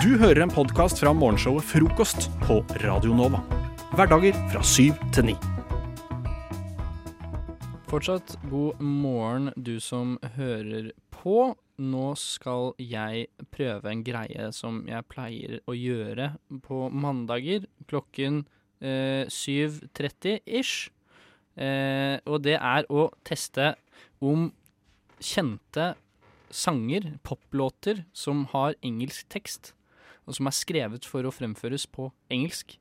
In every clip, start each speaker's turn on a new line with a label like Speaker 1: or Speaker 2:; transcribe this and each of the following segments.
Speaker 1: Du hører en podkast fra morgenshowet Frokost på Radio Nova. Hverdager fra syv til ni.
Speaker 2: Fortsatt god morgen, du som hører på. Nå skal jeg prøve en greie som jeg pleier å gjøre på mandager klokken eh, 7.30-ish. Eh, og det er å teste om kjente sanger, poplåter, som har engelsk tekst, og som er skrevet for å fremføres på engelsk,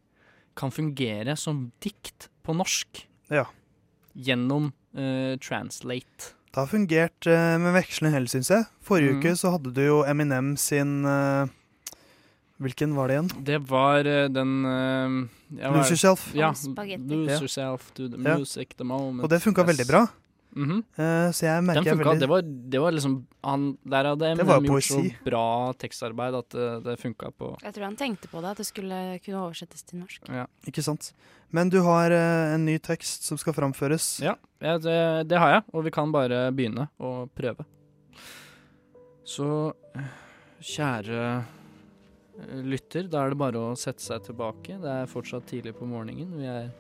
Speaker 2: kan fungere som dikt på norsk
Speaker 3: Ja.
Speaker 2: gjennom eh, translate.
Speaker 3: Det har fungert eh, med vekslende hell, syns jeg. Forrige
Speaker 2: Mhm.
Speaker 3: uke så hadde du jo Eminem sin eh, Hvilken var det igjen?
Speaker 2: Det var eh, den eh, ja, hva er
Speaker 3: Lose
Speaker 2: det?
Speaker 3: Yourself.
Speaker 2: Ja,
Speaker 4: Spagetti.
Speaker 2: lose
Speaker 3: Ja.
Speaker 2: yourself to the
Speaker 3: Ja.
Speaker 2: music, the moment.
Speaker 3: Og det funka
Speaker 2: Yes.
Speaker 3: veldig bra.
Speaker 2: Mhm.
Speaker 3: Eh, så jeg
Speaker 2: Den
Speaker 3: merker jeg
Speaker 2: funka.
Speaker 3: veldig
Speaker 2: Det var, det var liksom han, Der hadde
Speaker 3: Det var
Speaker 2: Eminem gjort så
Speaker 3: poesi.
Speaker 2: bra tekstarbeid at det, det funka på
Speaker 4: Jeg tror han tenkte på det, at det skulle kunne oversettes til norsk.
Speaker 3: Ikke sant? Men du har eh, en ny tekst som skal framføres.
Speaker 2: Ja. ja, det, det har jeg, og vi kan bare begynne å prøve. Så kjære eh, lytter, da er det bare å sette seg tilbake. Det er fortsatt tidlig på morgenen. Vi er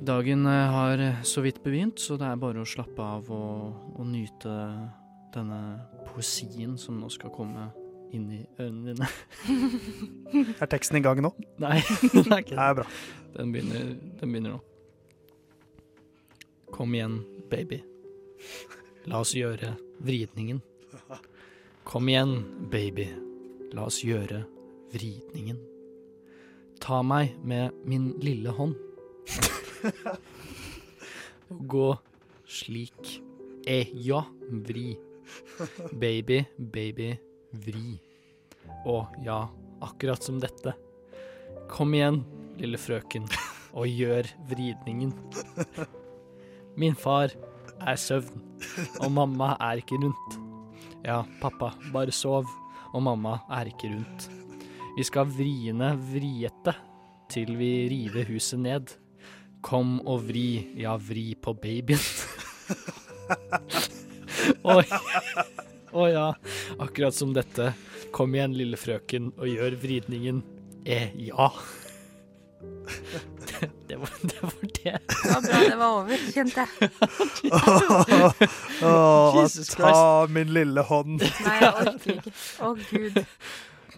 Speaker 2: Dagen eh, har så vidt begynt, så det er bare å slappe av og, og nyte denne poesien som nå skal komme inn i ørene dine.
Speaker 3: Er teksten i gang nå?
Speaker 2: Nei, det er ikke
Speaker 3: Det er bra.
Speaker 2: Den begynner, den begynner nå. Kom igjen, baby. La oss gjøre vridningen. Kom igjen, baby. La oss gjøre vridningen. Ta meg med min lille hånd. Og gå slik. Eh, ja, vri. Baby, baby, vri. Å ja, akkurat som dette. Kom igjen, lille frøken, og gjør vridningen. Min far er søvn, og mamma er ikke rundt. Ja, pappa, bare sov, og mamma er ikke rundt. Vi skal vriene vriete til vi river huset ned. Kom og vri, ja, vri på babyen. Oi. Å ja, akkurat som dette. Kom igjen, lille frøken, og gjør vridningen. Eh, ja. Det var det. Var det.
Speaker 4: Det var bra det var over, kjente jeg.
Speaker 3: Åh,
Speaker 2: Jesus
Speaker 3: ta min lille hånd,
Speaker 4: Nei, jeg orker ikke. Å, gud.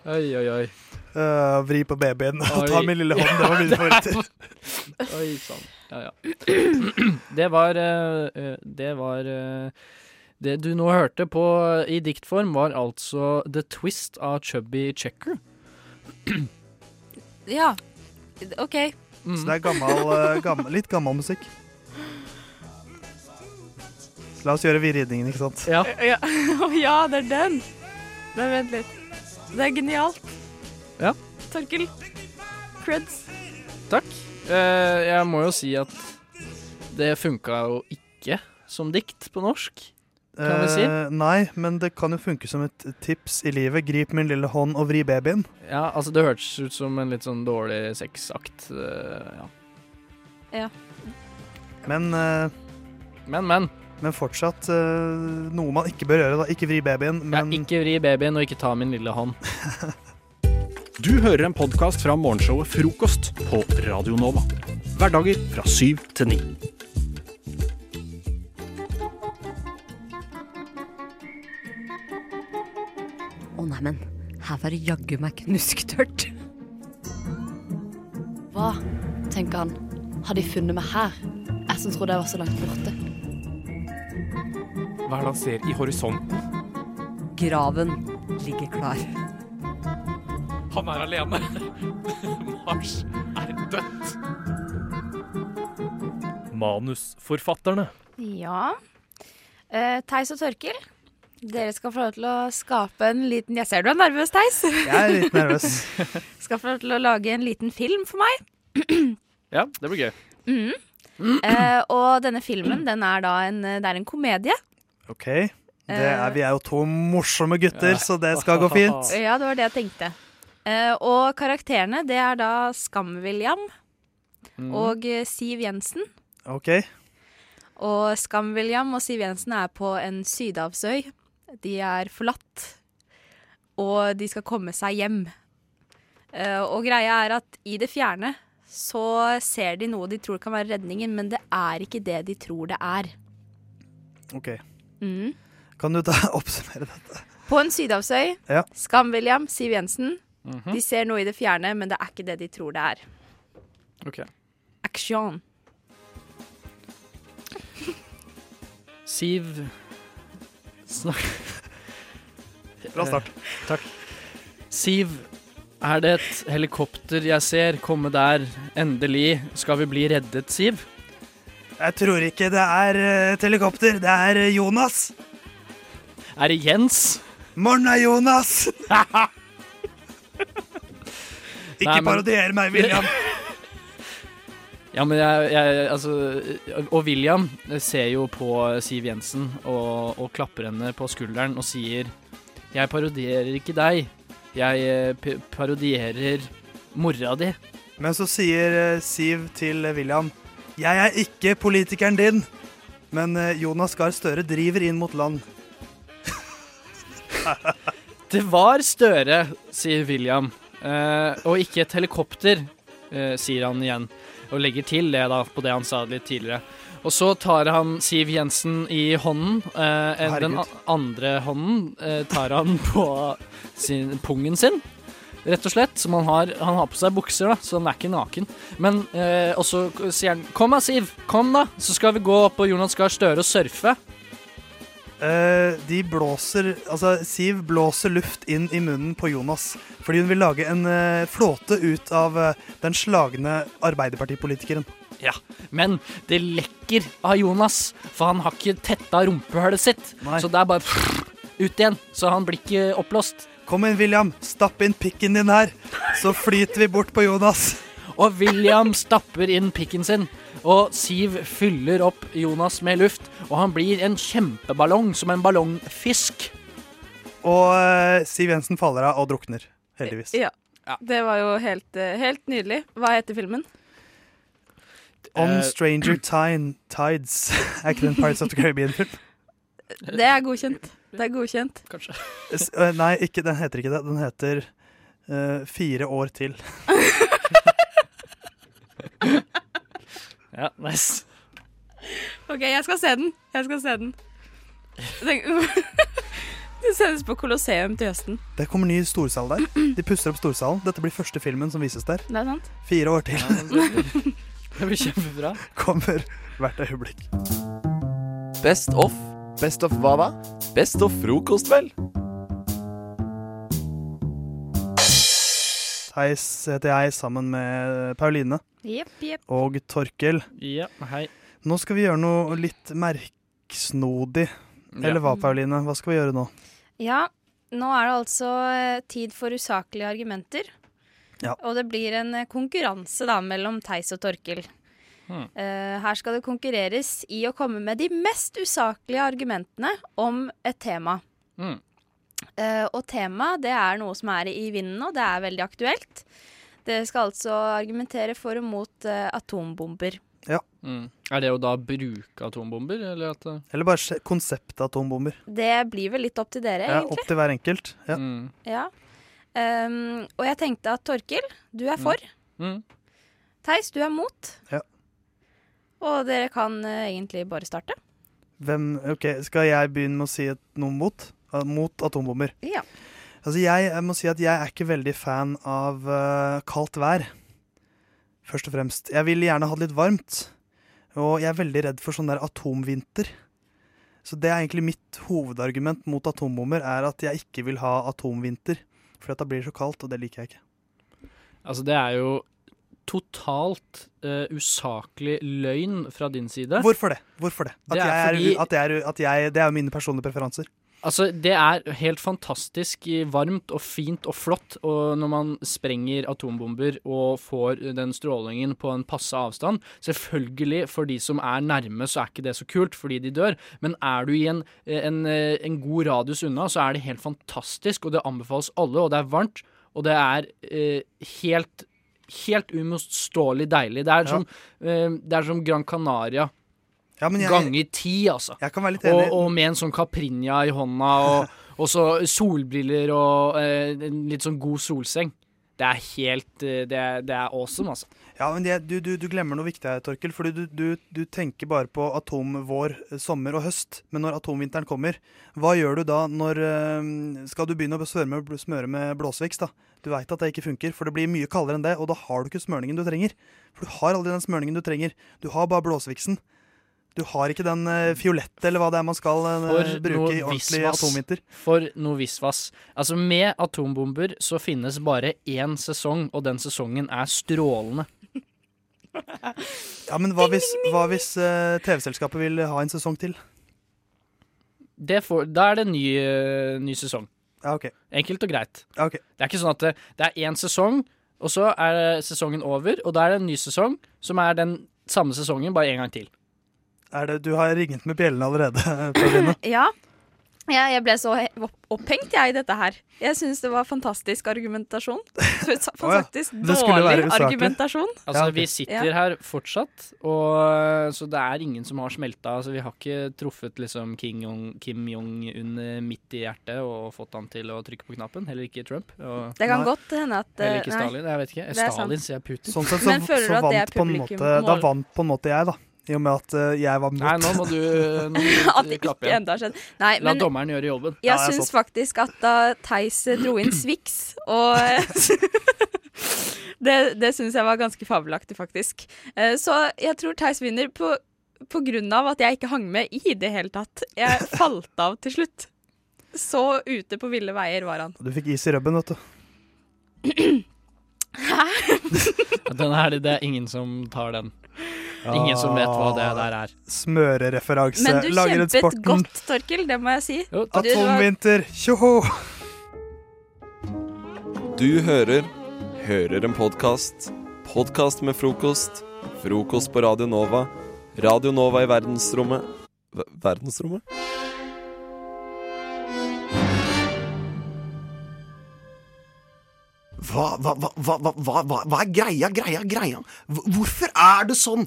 Speaker 2: Oi, oi, oi.
Speaker 3: Eh, vri på babyen og ta
Speaker 2: Oi.
Speaker 3: min lille hånd. Det var mine favoritter.
Speaker 2: Oi sann. Ja, ja. Det var eh, eh, Det var eh, Det du nå hørte på i diktform, var altså The Twist av Chubby Checker.
Speaker 4: Ja. Mm. OK.
Speaker 3: Så det er gammel, eh, gammel, litt gammel musikk. La oss gjøre vridningen, ikke sant?
Speaker 2: Ja.
Speaker 4: Ja. Å ja, det er den. Nei, vent litt. Det er genialt.
Speaker 2: Ja.
Speaker 4: Torkel. Creds.
Speaker 2: Takk. Eh, jeg må jo si at det funka jo ikke som dikt på norsk. Kan vi si?
Speaker 3: Eh, nei, men det kan jo funke som et tips i livet. Grip min lille hånd og vri babyen.
Speaker 2: Ja, altså Det hørtes ut som en litt sånn dårlig sexakt. eh, ja.
Speaker 3: Men, eh,
Speaker 2: Men, men.
Speaker 3: men fortsatt eh, noe man ikke bør gjøre. da Ikke vri babyen,
Speaker 2: Ja,
Speaker 3: men
Speaker 2: ikke vri babyen, og ikke ta min lille hånd.
Speaker 1: Du hører en podkast fra morgenshowet Frokost på Radio Nova. Hverdager fra syv til ni.
Speaker 5: Å nei, men her var det jaggu meg knusktørt.
Speaker 4: Hva, tenker han, har de funnet meg her? Jeg som trodde jeg var så langt borte.
Speaker 6: Hva er det han ser i horisonten?
Speaker 5: Graven ligger klar.
Speaker 6: Han er alene. Mars er dødt. Manusforfatterne.
Speaker 4: Ja. Eh, Theis og Torkil, dere skal få lov til å skape en liten Jeg ser du er nervøs, Theis.
Speaker 3: jeg er litt nervøs.
Speaker 4: Skal få lov til å lage en liten film for meg.
Speaker 2: Ja, det blir gøy.
Speaker 4: Mm. Eh, og denne filmen, den er da en, det er en komedie.
Speaker 3: OK. Det er, vi er jo to morsomme gutter, så det skal gå fint.
Speaker 4: Ja, det var det jeg tenkte. Eh, og karakterene, det er da Skam-William
Speaker 3: Mm.
Speaker 2: Mm.
Speaker 4: og eh, Siv Jensen.
Speaker 3: OK.
Speaker 4: Og Skam-William og Siv Jensen er på en sydhavsøy. De er forlatt. og de skal komme seg hjem. Eh, og greia er at i det fjerne så ser de noe de tror kan være redningen, men det er ikke det de tror det er.
Speaker 3: OK.
Speaker 4: Mm.
Speaker 3: Kan du ta, oppsummere dette?
Speaker 4: På en sydhavsøy,
Speaker 3: Ja. Mhm.
Speaker 4: Skam-William, Siv Jensen. De ser noe i det fjerne, men det er ikke det de tror det er.
Speaker 2: Ok.
Speaker 4: Action.
Speaker 2: Siv Snak
Speaker 3: Bra start.
Speaker 2: Siv, er det et helikopter jeg ser? Komme der, endelig. Skal vi bli reddet, Siv?
Speaker 3: Jeg tror ikke det er eh, et helikopter. Det er eh, Jonas.
Speaker 2: Er det Jens?
Speaker 3: Morna, Jonas! ikke
Speaker 2: Nei, men-
Speaker 3: parodier meg, William.
Speaker 2: Ja, men jeg, jeg Altså Og William ser jo på Siv Jensen og, og klapper henne på skulderen og sier Jeg parodierer ikke deg. Jeg eh, p parodierer mora di.
Speaker 3: Men så sier eh, Siv til eh, William Jeg er ikke politikeren din, men eh, Jonas Gahr Støre driver inn mot land.
Speaker 2: Det var Støre, sier William. Eh, og ikke et helikopter, eh, sier han igjen. Og legger til det da, på det han sa litt tidligere. Og så tar han Siv Jensen i hånden. Eh, en- den
Speaker 3: Herregud.
Speaker 2: a- andre hånden eh, tar han på sin, pungen sin, rett og slett. Som han har, han har på seg bukser, da, så han er ikke naken. Men, eh, Og så k- sier han 'Kom da, Siv. Kom, da. Så skal vi gå opp på Jonas Gahr Støre og surfe'.
Speaker 3: Eh, de blåser Altså, Siv blåser luft inn i munnen på Jonas fordi hun vil lage en eh, flåte ut av eh, den slagne arbeiderpartipolitikeren.
Speaker 2: Ja, men det lekker av Jonas, for han har ikke tetta rumpehullet sitt.
Speaker 3: Nei.
Speaker 2: Så det er bare ut igjen, så han blir ikke oppblåst.
Speaker 3: Kom inn, William. Stapp inn pikken din her, så flyter vi bort på Jonas.
Speaker 2: Og William stapper inn pikken sin, og Siv fyller opp Jonas med luft, og han blir en kjempeballong, som en ballongfisk.
Speaker 3: Og eh, Siv Jensen faller av og drukner. Heldigvis.
Speaker 4: Ja. Det var jo helt, eh, helt nydelig. Hva heter filmen?
Speaker 3: On
Speaker 2: Eh,
Speaker 3: Stranger Tine, Tides. er ikke den Pirates of the Caribbean-film?
Speaker 4: Det er godkjent. Det er godkjent.
Speaker 2: Kanskje.
Speaker 3: S- øh, Nei, ikke, den heter ikke det. Den heter øh, Fire år til.
Speaker 2: Ja, nice.
Speaker 4: OK, jeg skal se den. Jeg skal se den. Den, den sendes på Colosseum til høsten.
Speaker 3: Det kommer ny storsal der. De puster opp storsalen. Dette blir første filmen som vises der.
Speaker 4: Det er sant?
Speaker 3: Fire år til
Speaker 2: Det blir kjempebra.
Speaker 3: kommer hvert øyeblikk.
Speaker 7: Best of. Best of hva da? Best of frokost, vel?
Speaker 3: Theis heter jeg, sammen med Pauline
Speaker 4: Jepp, jepp.
Speaker 3: og Torkel.
Speaker 2: Ja, hei.
Speaker 3: Nå skal vi gjøre noe litt merksnodig. Eller hva, Pauline? Hva skal vi gjøre nå?
Speaker 4: Ja, nå er det altså eh, tid for usaklige argumenter.
Speaker 3: Ja.
Speaker 4: Og det blir en eh, konkurranse da mellom Theis og Torkil.
Speaker 2: Hmm.
Speaker 4: Eh, her skal det konkurreres i å komme med de mest usaklige argumentene om et tema.
Speaker 2: Hmm.
Speaker 4: Eh, og tema, det er noe som er i vinden nå, det er veldig aktuelt. Dere skal altså argumentere for og mot eh, atombomber.
Speaker 2: Mm. Er det jo da bruke atombomber, eller at eh,
Speaker 3: Eller bare se- konseptet atombomber.
Speaker 4: Det blir vel litt opp til dere,
Speaker 3: Ja,
Speaker 4: egentlig.
Speaker 3: opp til hver enkelt. Ja.
Speaker 2: mm.
Speaker 4: Ja. Ehm, og jeg tenkte at Torkil, du er for.
Speaker 2: Mm.
Speaker 4: Theis, du er mot.
Speaker 3: Ja.
Speaker 4: Og dere kan eh, egentlig bare starte.
Speaker 3: Hvem, ok, Skal jeg begynne med å si et, noe mot? Eh, Mot atombomber.
Speaker 4: Ja.
Speaker 3: Altså jeg, jeg må si at jeg er ikke veldig fan av eh, kaldt vær. Først og fremst. Jeg vil gjerne ha det litt varmt. Og jeg er veldig redd for sånn der atomvinter. Så det er egentlig mitt hovedargument mot atombomber, er at jeg ikke vil ha atomvinter. For da blir det så kaldt, og det liker jeg ikke.
Speaker 2: Altså, det er jo totalt eh, usaklig løgn fra din side.
Speaker 3: Hvorfor det? Hvorfor det? At,
Speaker 2: Det er
Speaker 3: jeg, er,
Speaker 2: fordi-
Speaker 3: at, jeg, er, at jeg Det er jo mine personlige preferanser.
Speaker 2: Altså, det er helt fantastisk i- varmt og fint og flott og når man sprenger atombomber og får den strålingen på en passe avstand. Selvfølgelig, for de som er nærme, så er ikke det så kult fordi de dør, men er du i en, eh, en, en god radius unna, så er det helt fantastisk, og det anbefales alle, og det er varmt, og det er eh, helt Helt umotståelig deilig. Det er som, eh, det er som Gran Canaria
Speaker 3: Ja, men jeg,
Speaker 2: ganger ti, altså.
Speaker 3: jeg kan være litt
Speaker 2: Og,
Speaker 3: enig.
Speaker 2: og med en sånn caprinja i hånda og, Og så solbriller og eh, en litt sånn god solseng. Det er helt eh, Det er, det er awesome, altså.
Speaker 3: Ja, men det, du, du, du glemmer noe viktig her, Torkel. Fordi du, du, du tenker bare på atomvår, sommer og høst. Men når atomvinteren kommer, hva gjør du da når eh, Skal du begynne å smøre med, smøre med blåsviks, da? Du veit at det ikke funker, for det blir mye kaldere enn det, og da har du ikke smørningen du trenger. For du har aldri den smørningen du trenger. Du har bare blåsviksen. Du har ikke den eh, fiolette, eller hva det er man skal eh,
Speaker 2: For noe
Speaker 3: bruke i ordentlig
Speaker 2: visvas.
Speaker 3: atomvinter.
Speaker 2: For noe visvas. Altså, med atombomber så finnes bare én sesong, og den sesongen er strålende.
Speaker 3: Ja, men hva hvis, hva hvis eh, TV-selskapet vil ha en sesong til?
Speaker 2: Det får, da er det ny, eh, ny sesong.
Speaker 3: Ja, OK.
Speaker 2: Enkelt og greit.
Speaker 3: Ja, ok.
Speaker 2: Det er ikke sånn at det, det er én sesong, og så er det sesongen over, og da er det en ny sesong, som er den samme sesongen, bare en gang til.
Speaker 3: Er det, du har ringt med bjellene allerede, Pauline.
Speaker 4: Ja. Ja, jeg ble så he- opp- opphengt jeg i dette her. Jeg syns det var fantastisk argumentasjon. Fantastisk
Speaker 3: Det skulle være
Speaker 4: dårlig
Speaker 3: usaklig.
Speaker 4: argumentasjon.
Speaker 2: Altså,
Speaker 3: Ja, ok.
Speaker 2: vi sitter her fortsatt, og, så det er ingen som har smelta. Altså, vi har ikke truffet liksom, King Jong, Kim Jong-un eh, midt i hjertet og fått han til å trykke på knappen. Heller ikke Trump. Og
Speaker 4: Det kan
Speaker 3: Nei.
Speaker 4: godt hende at eh,
Speaker 2: heller ikke
Speaker 4: nei.
Speaker 2: Stalin. Jeg vet ikke.
Speaker 4: er sant.
Speaker 2: Stalin, sier jeg Putin.
Speaker 3: Sånn sett så,
Speaker 4: Men føler du
Speaker 3: så
Speaker 4: at det er
Speaker 3: vant på en måte
Speaker 4: publikum
Speaker 3: Da
Speaker 4: mål?
Speaker 3: vant på en måte jeg, da. I og med at eh, jeg var mot.
Speaker 2: Nei, nå må du, eh, nå må du
Speaker 4: At det
Speaker 2: klappe
Speaker 4: ikke
Speaker 2: igjen.
Speaker 4: enda har skjedd. Nei,
Speaker 2: La
Speaker 4: men
Speaker 2: dommeren gjøre jobben.
Speaker 3: Ja,
Speaker 4: jeg
Speaker 3: det er
Speaker 4: syns faktisk at da Theis eh, dro inn Swix og eh, Det, det syns jeg var ganske fabelaktig, faktisk. Eh, Så jeg tror Theis vinner på, på grunn av at jeg ikke hang med i det hele tatt. Jeg falt av til slutt. Så ute på ville veier var han.
Speaker 3: Du fikk is i rubben, vet du.
Speaker 2: Den er, det er ingen som tar den. Ingen som vet hva det der er.
Speaker 3: Smørereferanse.
Speaker 4: Men du kjempet
Speaker 3: Langrennssporten.
Speaker 4: godt, Torkil, det må jeg si.
Speaker 2: Jo,
Speaker 4: Du, det var-
Speaker 3: Atomvinter. Tjoho!
Speaker 7: Du hører Hører en podkast. Podkast med frokost. Frokost på Radio Nova. Radio Nova i verdensrommet Ver- Verdensrommet?
Speaker 8: Hva, hva, hva, hva, hva- hva, hva, hva er greia, greia, greia? Hv- Hvorfor er det sånn?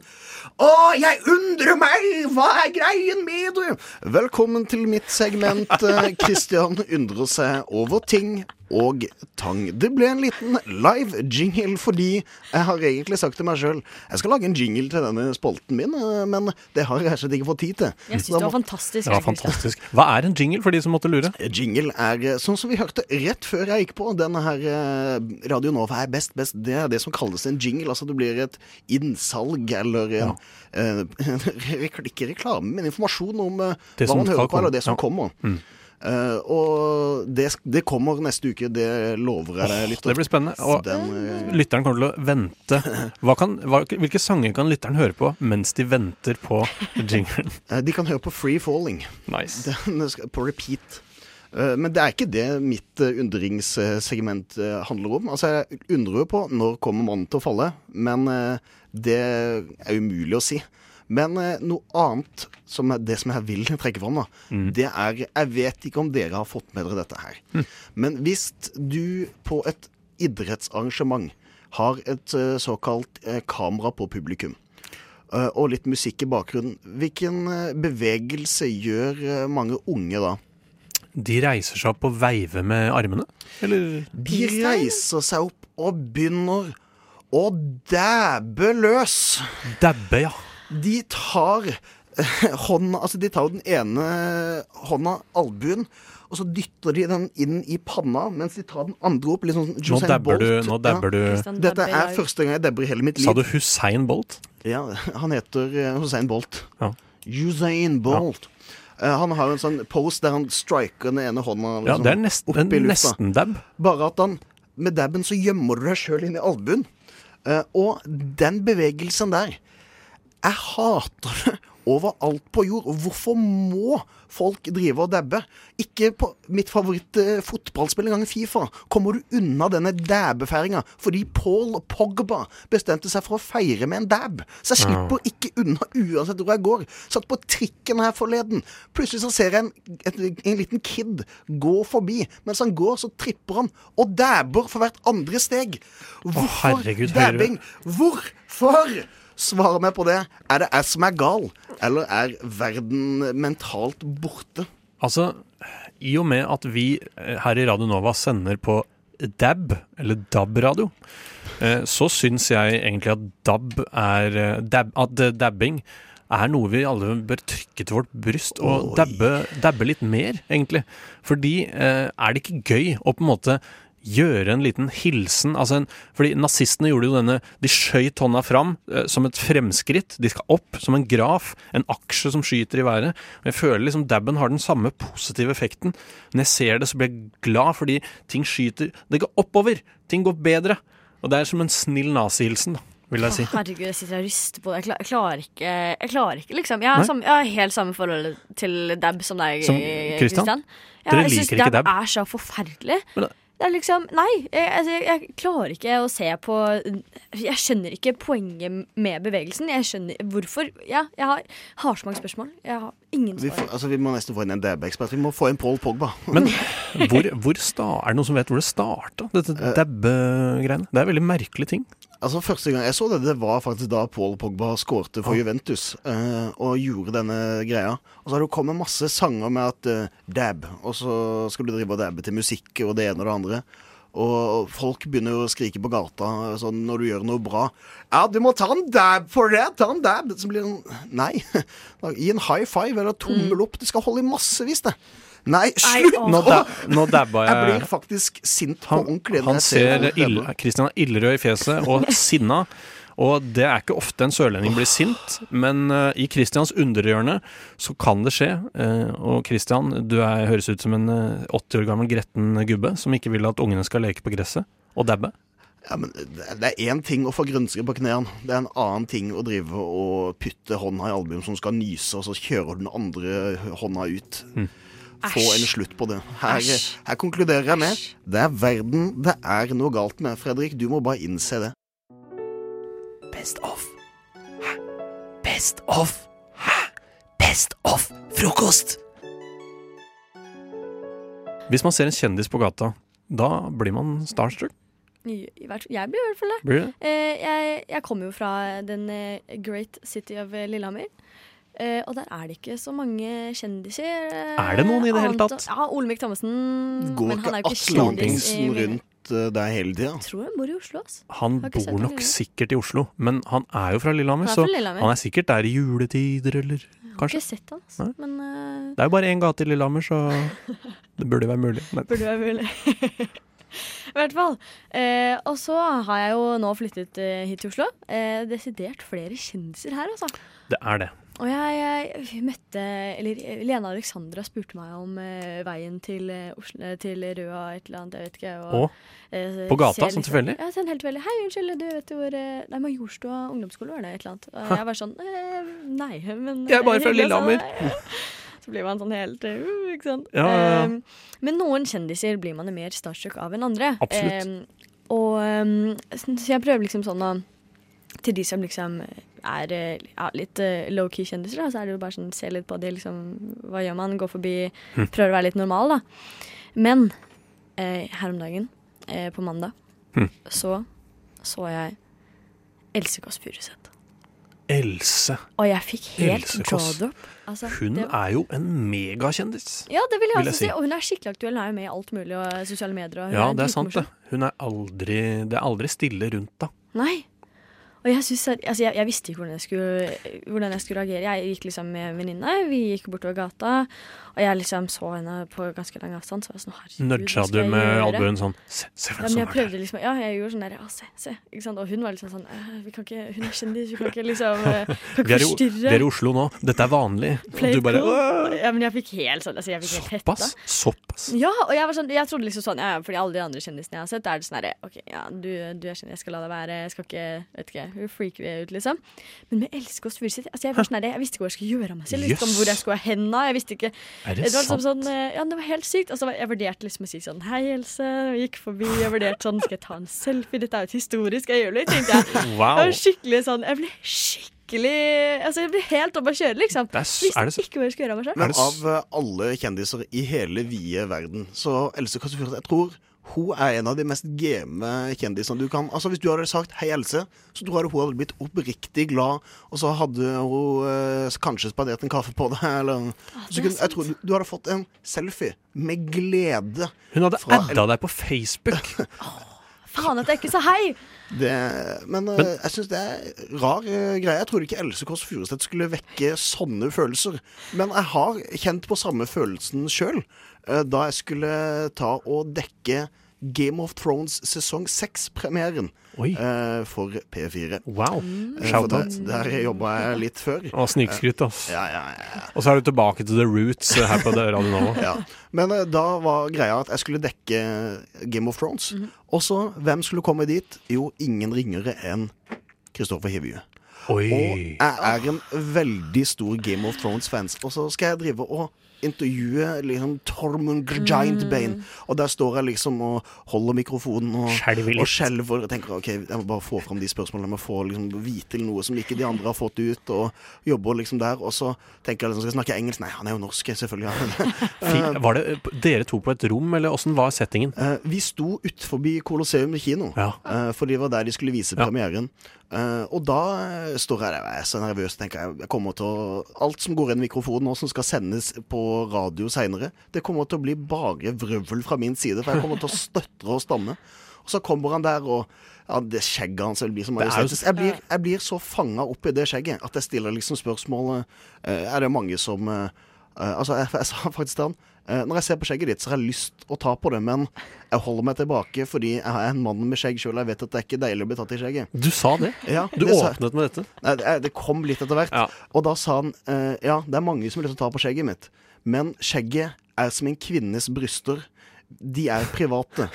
Speaker 8: Å, jeg undrer meg! Hva er greien med det? Velkommen til mitt segment. eh, Christian undrer seg over ting og tang. Det ble en liten live jingle fordi jeg har egentlig sagt til meg sjøl jeg skal lage en jingle til denne spalten min, eh, men det har jeg rett og slett ikke fått tid til.
Speaker 5: Jeg
Speaker 8: Så da
Speaker 5: syns det
Speaker 8: må-
Speaker 5: var fantastisk.
Speaker 1: Det var fantastisk. Hva er en jingle, for de som måtte lure?
Speaker 8: Jingle er eh, sånn som vi hørte rett før jeg gikk på. Denne her eh, Radio Nova er best, best. Det er det som kalles en jingle. Altså det blir et innsalg eller en, eh, rek- Ikke reklame, men informasjon om eh,
Speaker 1: Det
Speaker 8: hva
Speaker 1: som
Speaker 8: man hører
Speaker 1: skal
Speaker 8: på, eller det som
Speaker 1: komme.
Speaker 8: kommer. Eh, og det, sk- det kommer neste uke, det lover jeg deg litt.
Speaker 1: Det blir spennende. Og
Speaker 8: Den, eh,
Speaker 1: lytteren kommer til å vente. Hva kan, hva, hvilke sanger kan lytteren høre på mens de venter på jinglen?
Speaker 8: eh, de kan høre på Free Falling.
Speaker 1: Nice.
Speaker 8: Den skal på repeat. Eh, Men det er ikke det mitt eh, undringssegment eh, handler om. Altså, Jeg undrer jo på når kommer mannen til å falle, men eh, det er umulig å si. Men eh, noe annet, som er det som jeg vil trekke fram, da, det er Jeg vet ikke om dere har fått med dere dette her. Men hvis du på et idrettsarrangement har et eh, såkalt eh, kamera på publikum, eh, og litt musikk i bakgrunnen. Hvilken eh, bevegelse gjør eh, mange unge da?
Speaker 1: De reiser seg opp og veiver med armene? Eller
Speaker 8: De reiser seg opp og begynner å dæbe løs.
Speaker 1: dabbe, ja.
Speaker 8: De tar hånda Altså, de tar jo den ene hånda, albuen, og så dytter de den inn i panna, mens de tar den andre opp. Litt sånn
Speaker 1: Nå
Speaker 8: Usain
Speaker 1: dabber du.
Speaker 8: Bolt.
Speaker 1: Nå dabber du.
Speaker 8: Ja. Dette er første gang jeg dabber i hele mitt liv.
Speaker 1: Sa du Hussein Bolt?
Speaker 8: Ja, han heter eh, Hussein Bolt.
Speaker 1: Ja.
Speaker 8: Usain Bolt. Eh, han har en sånn pose der han striker den ene hånda
Speaker 1: Ja,
Speaker 8: liksom,
Speaker 1: det er nesten,
Speaker 8: opp i
Speaker 1: en
Speaker 8: lufta.
Speaker 1: nesten-dab.
Speaker 8: Bare at han med dabben så gjemmer du deg sjøl inn i albuen. Eh, og den bevegelsen der Jeg hater det overalt på jord. Hvorfor må folk drive og dabbe? Ikke på mitt favoritt-fotballspill engang, Fifa. Kommer du unna denne dabbefeiringa fordi Paul Pogba bestemte seg for å feire med en dab? Så jeg slipper ikke unna uansett hvor jeg går. Satt på trikken her forleden. Plutselig så ser jeg en, et, en liten kid gå forbi. Mens han går, så tripper han og dabber for hvert andre steg. Hvorfor
Speaker 1: herregud, hører du-
Speaker 8: dabbing? Hvorfor? Svar meg på det. Er det jeg som er gal, eller er verden mentalt borte?
Speaker 1: Altså,
Speaker 9: i og med at vi eh, her i Radio Nova sender på DAB, eller DAB-radio, eh, så syns jeg egentlig at DAB er eh, dab, At eh, dabbing er noe vi alle bør trykke til vårt bryst og
Speaker 8: Oi.
Speaker 9: dabbe, dabbe litt mer, egentlig. Fordi eh, er det ikke gøy å på en måte gjøre en liten hilsen altså en, Fordi nazistene gjorde jo denne De skjøt hånda fram eh, som et fremskritt. De skal opp som en graf, en aksje som skyter i været. Og jeg føler liksom dabben har den samme positive effekten. Når jeg ser det, så blir jeg glad, fordi ting skyter Det går oppover! Ting går bedre. Og det er som en snill nazihilsen, da, vil jeg si.
Speaker 10: Herregud, jeg sitter og rister på det. Jeg, kla- jeg klarer ikke, jeg klarer ikke liksom. Jeg
Speaker 9: Nei?
Speaker 10: har, samme, jeg har helt samme forhold til dab som deg,
Speaker 9: Som
Speaker 10: eh,
Speaker 9: Christian?
Speaker 10: Christian. Ja,
Speaker 9: Dere
Speaker 10: jeg
Speaker 9: liker
Speaker 10: synes
Speaker 9: ikke dab?
Speaker 10: er så forferdelig.
Speaker 9: Men da-
Speaker 10: Det er liksom, nei, jeg, altså, jeg, jeg klarer ikke å se på Jeg skjønner ikke poenget med bevegelsen. Jeg skjønner hvorfor. Ja, jeg har, har så mange spørsmål. Jeg har ingen
Speaker 8: Vi, får,
Speaker 10: svar.
Speaker 8: altså, vi må nesten få inn en DB-ekspert. Vi må få inn Paul Pogba.
Speaker 9: Men hvor, hvor sta, er det noen som vet hvor det starta, dette dabbe-greiene? Det er veldig merkelige ting.
Speaker 8: Altså Første gang jeg så det, det var faktisk da Paul Pogba skårte for Juventus. eh, og gjorde denne greia. Og så har det kommet masse sanger med at eh, dab, og så skal du drive og dabbe til musikk og det ene og det andre. Og folk begynner å skrike på gata sånn når du gjør noe bra. Ja, du må ta en dab for det! Ta en dab! Så blir det sånn Nei. Gi en high five eller tommel opp. Det skal holde i massevis, det. Nei, slutt!
Speaker 10: åh.
Speaker 9: Nå, da, nå dabba
Speaker 8: Jeg blir
Speaker 9: jeg
Speaker 8: faktisk sint på
Speaker 9: Han,
Speaker 8: ordentlig. når
Speaker 9: han
Speaker 8: jeg
Speaker 9: ser
Speaker 8: folk dabbe.
Speaker 9: ille, Christian er illerød i fjeset og sinna. Og det er ikke ofte en sørlending blir sint, men eh, i Christians underhjørne så kan det skje. Eh, og Christian, du er, høres ut som en eh, 80 år gammel gretten gubbe som ikke vil at ungene skal leke på gresset og dabbe.
Speaker 8: Ja, men eh, det- Det er én ting å få grønsker på knærne. Det er en annen ting å drive og putte hånda i albuen som skal nyse, og så kjører den andre hånda ut. Få en slutt på det. Her, her konkluderer jeg med det er verden det er noe galt med. Fredrik, du må bare innse det.
Speaker 6: Best of. Hæ? Best of. Hæ? Best of frokost.
Speaker 9: Hvis man ser en kjendis på gata, da blir man starstruck.
Speaker 10: I, i hvert, jeg blir i hvert fall det.
Speaker 9: Blir det?
Speaker 10: Eh, jeg, jeg kommer jo fra den eh, great city of eh, Lillehammer. Eh, og der er det ikke så mange kjendiser. eh,
Speaker 9: Er det noen i det hele
Speaker 10: annet-
Speaker 9: tatt?
Speaker 10: Ja, Olemic Thommessen.
Speaker 8: Går
Speaker 10: men han er
Speaker 8: ikke
Speaker 10: jo ikke
Speaker 8: Atle
Speaker 10: kjendis. i
Speaker 8: Antonsen
Speaker 10: mine-
Speaker 8: rundt eh, der hele tida?
Speaker 10: Jeg tror han bor i Oslo. ass.
Speaker 9: Han
Speaker 10: Har ikke sett
Speaker 9: bor
Speaker 10: han
Speaker 9: nok
Speaker 10: gjøre det.
Speaker 9: sikkert i Oslo, men han er jo fra
Speaker 10: Han
Speaker 9: Lillehammer,
Speaker 10: er
Speaker 9: så
Speaker 10: fra Lillehammer.
Speaker 9: han er sikkert der i juletider, eller
Speaker 10: Jeg har
Speaker 9: kanskje.
Speaker 10: ikke sett han, ass.
Speaker 9: Nei.
Speaker 10: men eh,
Speaker 9: Det er jo bare én gate i Lillehammer, så det burde være mulig. Men
Speaker 10: burde være mulig. I hvert fall. Eh, og så har jeg jo nå flyttet eh, hit til Oslo. Eh, desidert flere kjendiser her, altså.
Speaker 9: det er det.
Speaker 10: Og jeg, jeg møtte Eller eh, Lena Alexandra spurte meg om eh, veien til, eh, Oslo, eh, til Røa et eller annet, jeg vet ikke.
Speaker 9: Og
Speaker 10: eh,
Speaker 9: på gata,
Speaker 10: ser
Speaker 9: sånn tilfeldig?
Speaker 10: Ja, sånn helt tilfeldig. Hei, unnskyld, du vet jo hvor eh, Nei, Majorstua ungdomsskole var det, et eller annet. Og jeg var sånn eh, Nei, men
Speaker 9: Jeg er
Speaker 10: eh,
Speaker 9: bare fra
Speaker 10: hyggelig, altså.
Speaker 9: Lillehammer.
Speaker 10: Så blir man sånn helt eh, uh, Ikke sant.
Speaker 9: Ja, ja, ja.
Speaker 10: Eh, men noen kjendiser blir man mer starstruck av enn andre.
Speaker 9: Absolutt.
Speaker 10: Eh, og eh, så så jeg prøver liksom sånn å til de som liksom er eh, ja, litt eh, low-key kjendiser, da, så er det jo bare sånn se litt på de, liksom Hva gjør man? Gå forbi,
Speaker 9: Hm.
Speaker 10: prøver å være litt normal, da. Men eh, her om dagen, eh, på mandag,
Speaker 9: Hm.
Speaker 10: så så jeg Else Kåss Furuseth.
Speaker 9: Else,
Speaker 10: Og jeg fikk helt
Speaker 9: Else
Speaker 10: jaw
Speaker 9: Kåss.
Speaker 10: drop. Altså,
Speaker 9: hun
Speaker 10: det var-
Speaker 9: er jo en megakjendis.
Speaker 10: ja, det vil jeg
Speaker 9: vil jeg
Speaker 10: også
Speaker 9: si.
Speaker 10: si. Og hun er skikkelig aktuell. Hun er jo med i alt mulig og sosiale medier. Og hun
Speaker 9: Ja, det er sant,
Speaker 10: dritmorsom.
Speaker 9: det. Hun er aldri Det er aldri stille rundt, da.
Speaker 10: Nei. Og jeg, synes at, altså jeg, jeg visste ikke hvordan jeg, skulle, hvordan jeg skulle reagere. Jeg gikk liksom med en venninne, vi gikk bortover gata. Og jeg liksom så henne på ganske lang avstand. Så jeg var sånn, herregud,
Speaker 9: Nudja
Speaker 10: hva skal
Speaker 9: du
Speaker 10: jeg
Speaker 9: med
Speaker 10: gjøre?
Speaker 9: albuen sånn Se, se
Speaker 10: Ja,
Speaker 9: hvem
Speaker 10: men
Speaker 9: som
Speaker 10: jeg
Speaker 9: er der.
Speaker 10: prøvde liksom, ja, jeg gjorde sånn der, ja, se, se, ikke sant? Og hun var liksom sånn, «Eh, vi kan ikke, hun er kjendis, vi kan ikke liksom, eh, kan
Speaker 9: Vi
Speaker 10: ikke
Speaker 9: er, i, O- vi er i
Speaker 10: forstyrre.
Speaker 9: Oslo nå. Dette er vanlig. Og
Speaker 10: Play
Speaker 9: du bare
Speaker 10: cool.
Speaker 9: «Åh!»
Speaker 10: Ja, men jeg fikk helt sånn, altså jeg fikk helt hetta.
Speaker 9: Såpass? Såpass?
Speaker 10: Ja, og jeg, var sånn, jeg trodde liksom sånn, ja, ja, fordi alle de andre kjendisene jeg har sett, er det sånn herre OK, ja, du, du er kjendis, jeg skal la deg være, jeg skal ikke Vet ikke, hun freaker ut, liksom. Men med Else Kåss Furuseth altså, jeg, var sånn herre, jeg visste ikke hva jeg skulle gjøre av meg selv. Jeg visste ikke om
Speaker 9: Jøss.
Speaker 10: hvor jeg skulle ha henda. Jeg visste ikke
Speaker 9: Er
Speaker 10: det
Speaker 9: det
Speaker 10: var liksom
Speaker 9: sant?
Speaker 10: sånn, eh, ja, det var helt sykt. Og så var- jeg vurderte liksom å si sånn Hei, Else. Jeg gikk forbi. Jeg vurderte sånn Skal jeg ta en selfie? Dette er jo et historisk øyeblikk, tenkte jeg. Jeg
Speaker 9: Wow.
Speaker 10: var skikkelig sånn Jeg ble skikkelig Altså, jeg ble helt oppe å kjøre, liksom.
Speaker 9: Det er, s-
Speaker 10: Visste
Speaker 9: er det, s-
Speaker 10: ikke hva jeg skulle gjøre av meg sjøl.
Speaker 8: Men
Speaker 9: det s-
Speaker 8: av eh, alle kjendiser i hele vide verden, så Else Kåss Furuseth Jeg tror hun er en av de mest game kjendisene du kan Altså Hvis du hadde sagt 'Hei, Else', så tror jeg hun hadde blitt oppriktig glad, og så hadde hun eh, kanskje spandert en kaffe på deg, eller så kunne, Jeg tror du, du hadde fått en selfie med glede.
Speaker 9: Hun hadde
Speaker 8: fra-
Speaker 9: adda deg på Facebook.
Speaker 10: Faen at jeg ikke sa hei!
Speaker 8: Det, men, eh,
Speaker 9: Men-
Speaker 8: jeg syns det er rar eh, greie. Jeg trodde ikke Else Kåss Furuseth skulle vekke sånne følelser. Men jeg har kjent på samme følelsen sjøl da jeg skulle ta og dekke Game of Thrones sesong 6-premieren for P4.
Speaker 9: Wow.
Speaker 8: Eh, for
Speaker 9: Shoutout.
Speaker 8: der, der jobba jeg litt før. Eh,
Speaker 9: Og snikskryt, ass.
Speaker 8: Ja, ja, ja.
Speaker 9: Og så er du tilbake til the roots eh, her på Radio Nova.
Speaker 8: Ja. Men eh, da var greia at jeg skulle dekke Game of Thrones. Og så, hvem skulle komme dit? Jo, ingen ringere enn Kristoffer Hivju.
Speaker 9: Oi.
Speaker 8: Og jeg er en veldig stor Game of Thrones-fans. Og så skal jeg drive og intervjue liksom Tormund Giant Bane. Og der står jeg liksom og holder mikrofonen og
Speaker 9: Skjelver litt.
Speaker 8: og skjelver. Jeg tenker ok, jeg må bare få fram de spørsmålene. Jeg må få liksom, vite noe som ikke de andre har fått ut. Og jobber liksom der. Og så tenker jeg liksom, skal jeg snakke engelsk? Nei, han er jo norsk, selvfølgelig.
Speaker 9: Fy- Var det eh, dere to på et rom, eller åssen var settingen?
Speaker 8: Eh, vi sto utenfor Colosseum kino, eh, for det var der de skulle vise premieren. Eh, og da eh, står jeg der, jeg er så nervøs og tenker jeg, jeg kommer til å Alt som går inn i mikrofonen nå, som skal sendes på radio seinere, det kommer til å bli bare vrøvl fra min side, for jeg kommer til å støtre og stamme. Og så kommer han der, og ja, det skjegget hans vil bli så
Speaker 9: Det er jo-
Speaker 8: majestetisk. Jeg, blir- jeg blir så fanga opp i det skjegget at jeg stiller liksom spørsmålet eh, Er det mange som eh, Eh, altså, jeg, jeg sa faktisk til han eh, Når jeg ser på skjegget ditt, så har jeg lyst å ta på det, men jeg holder meg tilbake fordi jeg er en mann med skjegg sjøl. Jeg vet at det er ikke deilig å bli tatt i skjegget.
Speaker 9: Du sa det.
Speaker 8: Ja,
Speaker 9: du
Speaker 8: det sa-
Speaker 9: åpnet med dette.
Speaker 8: Nei, det, det kom litt etter hvert. Og da sa han eh, Ja, det er mange som har lyst til å ta på skjegget mitt, men skjegget er som en kvinnes bryster. De er private.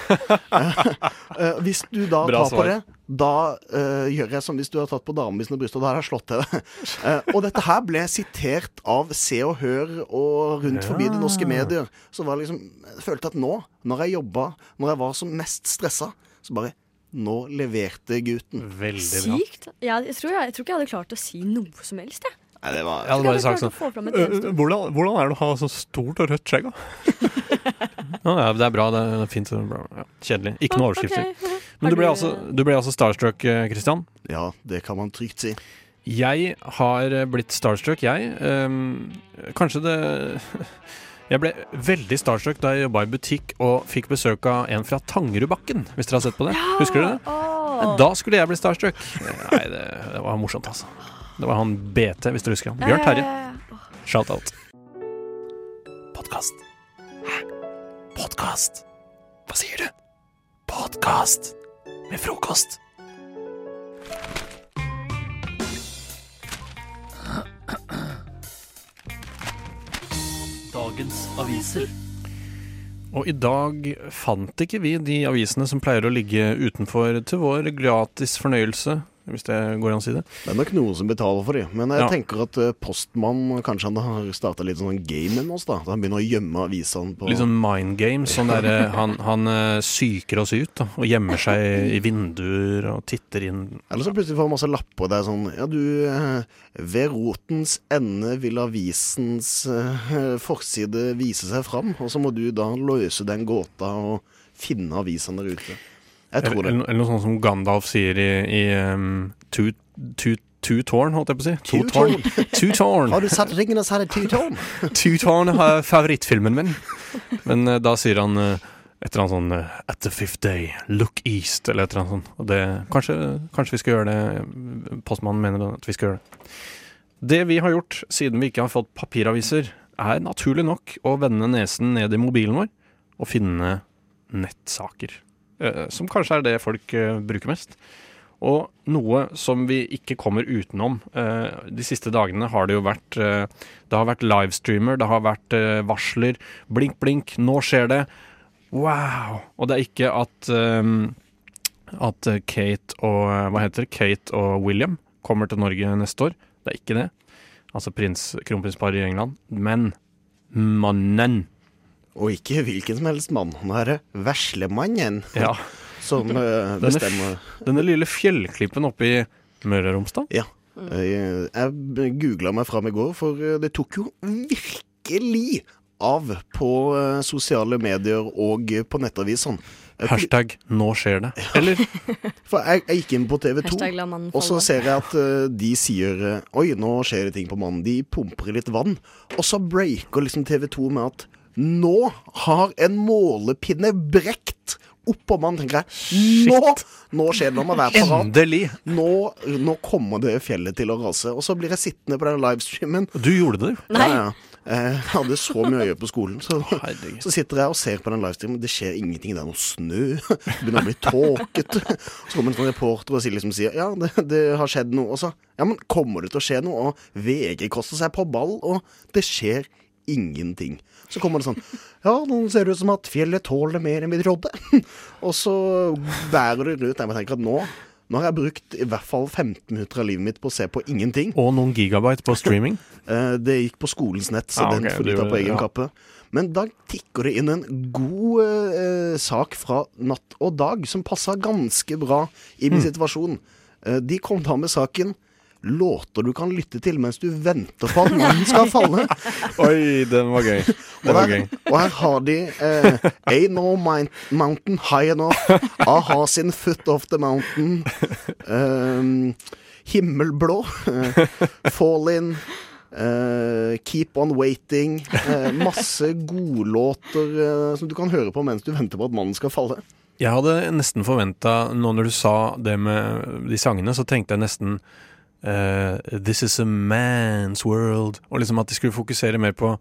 Speaker 8: Eh, hvis du da
Speaker 9: Bra
Speaker 8: tar på
Speaker 9: svar.
Speaker 8: det, da eh, gjør jeg som hvis du har tatt på damen sine bryster. Da har jeg slått til det. Eh, og dette her ble sitert av Se og Hør og rundt forbi de norske
Speaker 9: Ja.
Speaker 8: medier. Så var det liksom, jeg følte at nå, når jeg jobba, når jeg var som mest stressa, så bare Nå leverte gutten.
Speaker 9: Veldig
Speaker 10: Sykt. Ja, jeg, tror jeg, jeg tror ikke jeg hadde klart å si noe som helst, jeg.
Speaker 8: Nei, det var
Speaker 9: Jeg hadde bare
Speaker 10: Skulle
Speaker 9: sagt
Speaker 10: jeg klart
Speaker 9: sånn
Speaker 10: å få fram et
Speaker 9: «Øh,
Speaker 10: eneste ord?»
Speaker 9: hvordan, hvordan er det å ha så stort og rødt skjegg, da? ja, ja, det er bra. Det er fint. og bra, Ja, kjedelig. Ikke noen overskrifter. Men du ble, altså, du ble altså starstruck, eh, Christian?
Speaker 8: Ja, det kan man trygt si.
Speaker 9: Jeg har eh, blitt starstruck, jeg. Ehm, kanskje det Jeg ble veldig starstruck da jeg jobba i butikk og fikk besøk av en fra Tangerudbakken, hvis dere har sett på det. Husker dere det? Da skulle jeg bli starstruck. Nei, det, det var morsomt, altså. Det var han BT, hvis dere husker han. Bjørn Terje. Shout-out.
Speaker 6: Podkast. Hæ? Podkast? Hva sier du? Podkast med frokost.
Speaker 2: Dagens aviser.
Speaker 9: Og i dag fant ikke vi de avisene som pleier å ligge utenfor til vår gratis fornøyelse, hvis det går an å si det.
Speaker 8: Det er nok noen som betaler for de, men jeg
Speaker 9: Ja.
Speaker 8: tenker at eh, postmann kanskje han har starta litt sånn game med oss, da. At han begynner å gjemme avisene på
Speaker 9: Litt sånn mind games. Sånn der, eh, han, han eh, psyker oss ut da, og gjemmer seg i vinduer og titter inn.
Speaker 8: Eller så plutselig får han masse lapper der sånn Ja, du eh, Ved rotens ende vil avisens eh, forside vise seg fram, og så må du da løse den gåta og finne avisene der ute. Jeg tror det.
Speaker 9: Eller, eller noe sånt som Gandalf sier i, i um, Two, two, two Tårn, holdt jeg på å si. Two Tårn. Two Tårn.
Speaker 8: Har du satt ringen og satt et tutårn?
Speaker 9: Two Tårn er favorittfilmen min. Men eh, da sier han eh, et eller annet sånn eh, At the fifth day, look east, eller et eller annet sånt. Og det, kanskje, kanskje vi skal gjøre det. eh, Postmannen mener at vi skal gjøre det. Det vi har gjort, siden vi ikke har fått papiraviser, er naturlig nok å vende nesen ned i mobilen vår og finne nettsaker. eh, Som kanskje er det folk eh, bruker mest. Og noe som vi ikke kommer utenom. eh, De siste dagene har det jo vært eh, Det har vært livestreamer, det har vært eh, varsler. Blink, blink, nå skjer det. Wow! Og det er ikke at eh, at eh, Kate og eh, Hva heter det? Kate og William kommer til Norge neste år. Det er ikke det. Altså prins, kronprinsparet i England. Men mannen
Speaker 8: Og ikke hvilken som helst mann. Nå er det veslemannen
Speaker 9: Ja.
Speaker 8: som eh,
Speaker 9: Denne-
Speaker 8: bestemmer.
Speaker 9: Denne lille fjellklippen oppe i Møre og Romsdal.
Speaker 8: Ja. Eh, Jeg googla meg fram i går, for eh, det tok jo virkelig av på eh, sosiale medier og eh, på nettavisene.
Speaker 9: Hashtag 'nå skjer det'. Eller
Speaker 8: For jeg, jeg gikk inn på TV 2,
Speaker 10: Hashtag la mannen
Speaker 8: og så
Speaker 10: falle.
Speaker 8: ser jeg at eh, de sier eh, Oi, nå skjer det ting på mannen. De pumper litt vann. Og så breaker liksom TV 2 med at nå har en målepinne brekt oppå mannen. Tenker jeg. Nå, nå skjer det, nå må jeg være parat.
Speaker 9: Endelig!
Speaker 8: Nå, nå kommer det fjellet til å rase. Og så blir jeg sittende på den livestreamen.
Speaker 9: Du gjorde det, jo.
Speaker 10: Nei.
Speaker 8: Ja, ja. Eh, Jeg hadde så mye øye på skolen. Så, så sitter jeg og ser på den livestreamen. Det skjer ingenting. Det er noe snø. Det begynner å bli tåkete. Så kommer en sånn reporter og sier, liksom, sier ja, det, det har skjedd noe. Og så ja, men kommer det til å skje noe? Og VG koster seg på ball, og det skjer ingenting. Så kommer det sånn Ja, nå ser det ut som at fjellet tåler mer enn vi trodde. Og så bærer det rundt. Jeg bare tenker at nå nå har jeg brukt i hvert fall 15 minutter av livet mitt på å se på ingenting.
Speaker 9: Og noen gigabyte på streaming.
Speaker 8: Eh, Det gikk på skolens nett, så
Speaker 9: Ah,
Speaker 8: den
Speaker 9: ok,
Speaker 8: får
Speaker 9: du-
Speaker 8: du ta på egen
Speaker 9: ja.
Speaker 8: kappe. Men da tikker det inn en god eh, sak fra Natt og Dag, som passa ganske bra i
Speaker 9: Mm.
Speaker 8: min situasjon. Eh, de kom da med saken 'Låter du kan lytte til mens du venter på at mannen skal falle'.
Speaker 9: Oi, den var gøy.
Speaker 8: Og
Speaker 9: Den var
Speaker 8: her,
Speaker 9: gøy.
Speaker 8: og her har de eh, Ain't no mount- mountain high enough Aha sin foot off the mountain um, Himmelblå eh, Fall in eh, Keep on waiting eh, Masse godlåter eh, Som du kan høre på mens du venter på at mannen skal falle
Speaker 9: Jeg hadde nesten forventa, nå når du sa det med de sangene, så tenkte jeg nesten eh, This is a man's world. Og liksom at de skulle fokusere mer på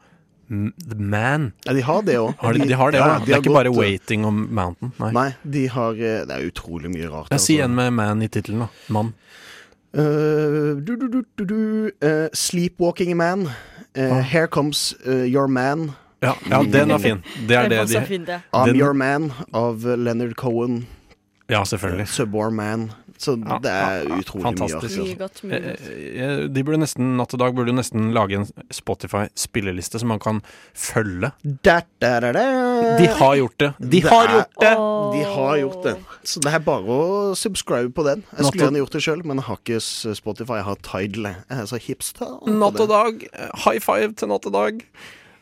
Speaker 9: m- the man.
Speaker 8: Ja, de har det også
Speaker 9: Har de, de har det
Speaker 8: ja,
Speaker 9: òg,
Speaker 8: de
Speaker 9: det er
Speaker 8: har
Speaker 9: ikke bare
Speaker 8: gått, eh,
Speaker 9: waiting on mountain. Nei.
Speaker 8: Nei, de har, eh, det er utrolig mye rart
Speaker 9: Jeg sier
Speaker 8: altså.
Speaker 9: en med man i tittelen, da. Mann.
Speaker 8: Eh, du, du, du, du, du, eh, Sleepwalking man Eh,
Speaker 9: Ah.
Speaker 8: Here comes eh, your man
Speaker 9: Ja, ja, den er fin. Det er det
Speaker 10: var så
Speaker 9: de
Speaker 10: fint, det.
Speaker 8: I'm
Speaker 9: Den-
Speaker 8: Your Man av eh, Leonard Cohen.
Speaker 9: Ja, selvfølgelig.
Speaker 8: Subwar Man. Så
Speaker 9: Ja,
Speaker 8: det er
Speaker 9: ja, ja,
Speaker 8: utrolig
Speaker 9: fantastisk.
Speaker 8: mye.
Speaker 10: Mye
Speaker 8: Altså.
Speaker 10: godt. Mye
Speaker 9: Eh,
Speaker 10: godt.
Speaker 9: eh, De burde nesten, Natt og dag burde jo nesten lage en Spotify-spilleliste som man kan følge.
Speaker 8: Da, da, da, da.
Speaker 9: eh, De har gjort det! De har
Speaker 8: er-
Speaker 9: gjort det!
Speaker 8: De har gjort det. Så det er bare å subscribe på den. Jeg
Speaker 9: Natt-
Speaker 8: skulle gjerne gjort det sjøl, men jeg har ikke s- Spotify. Jeg har Tidal. Jeg er så hipster. på
Speaker 9: Natt og
Speaker 8: det.
Speaker 9: dag. High five til natt og dag.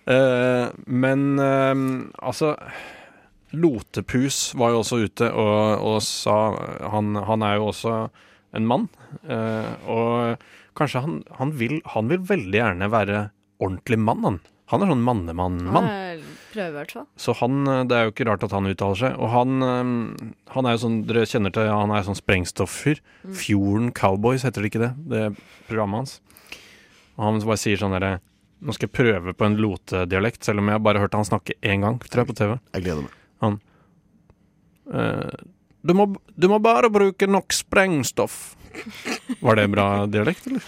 Speaker 9: Eh, men eh, altså Lotepus var jo også ute og, og sa han, han er jo også en mann. eh, og kanskje han, han, vil, han vil veldig gjerne være ordentlig mann, han. Han er sånn mannemann-mann.
Speaker 10: Ja, Prøver i hvert fall.
Speaker 9: Så han, eh, det er jo ikke rart at han uttaler seg. Og han, eh, han er jo sånn, dere kjenner til, han er sånn sprengstofffyr.
Speaker 10: Mm.
Speaker 9: Fjorden Cowboys heter det ikke det, det er programmet hans. Og han bare sier sånn derre Nå skal jeg prøve på en lotedialekt, selv om jeg bare hørte han snakke én gang, tror jeg, på TV.
Speaker 8: Jeg gleder meg.
Speaker 9: Eh, du, må, du må bare bruke nok sprengstoff. Var det en bra dialekt, eller?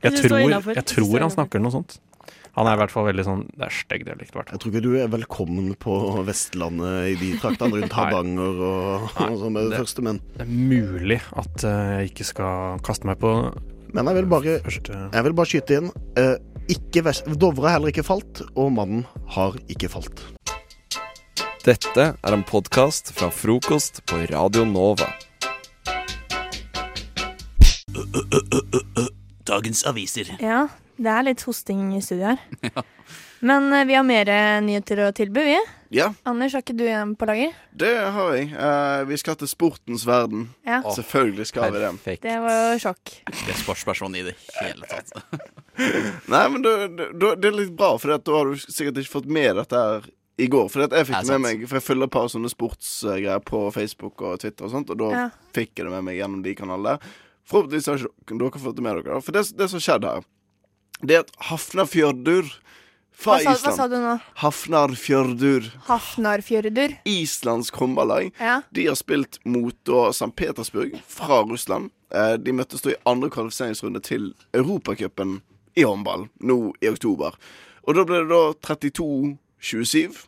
Speaker 9: Jeg
Speaker 10: Jeg synes det var
Speaker 9: tror,
Speaker 10: innenfor.
Speaker 9: jeg
Speaker 10: Jeg synes det var
Speaker 9: tror han
Speaker 10: innenfor.
Speaker 9: snakker noe sånt. Han er i hvert fall veldig sånn Det er stygg dialekt, i hvert fall.
Speaker 8: Jeg tror ikke du er velkommen på Vestlandet i de traktene rundt Hardanger og, og sånn med det
Speaker 9: det-
Speaker 8: første, men,
Speaker 9: Det er mulig at eh, jeg ikke skal kaste meg på
Speaker 8: men jeg vil bare
Speaker 9: første
Speaker 8: jeg vil bare skyte inn. eh, ikke vest Dovre har heller ikke falt, og mannen har ikke falt.
Speaker 7: Dette er en podkast fra frokost på Radio Nova.
Speaker 6: Dagens aviser.
Speaker 11: Ja, det er litt hosting i studio her. Men eh, vi har mer eh, nyheter å tilby, vi.
Speaker 12: Ja,
Speaker 11: Anders, har ikke du en på lager?
Speaker 12: det har jeg. Eh, vi skal til sportens verden.
Speaker 11: Ja.
Speaker 12: Selvfølgelig skal vi det.
Speaker 11: Det var jo sjokk.
Speaker 13: Ikke sportsperson i det hele tatt.
Speaker 12: Nei, men da- da- da- det er litt bra, for da har du sikkert ikke fått med dette her i går. For jeg fikk
Speaker 13: Ja,
Speaker 12: det med
Speaker 13: sant.
Speaker 12: meg For jeg følger et par sånne sportsgreier på Facebook og Twitter, og sånt Og da
Speaker 11: Ja.
Speaker 12: fikk jeg det med meg gjennom de kanalene. Forhåpentligvis har ikke dere fått det med dere. da. For det, det som skjedde her, det er at Hafnarfjørdur fra
Speaker 11: Hva sa, hva
Speaker 12: Island
Speaker 11: sa du nå?
Speaker 12: Hafnarfjørdur,
Speaker 11: Hafnarfjørdur?
Speaker 12: Islands håndballag,
Speaker 11: Ja.
Speaker 12: de har spilt mot da St. Petersburg fra Russland. Eh, De møttes da i andre kvalifiseringsrunde til Europacupen i håndball nå i oktober. Og da ble det da 32-27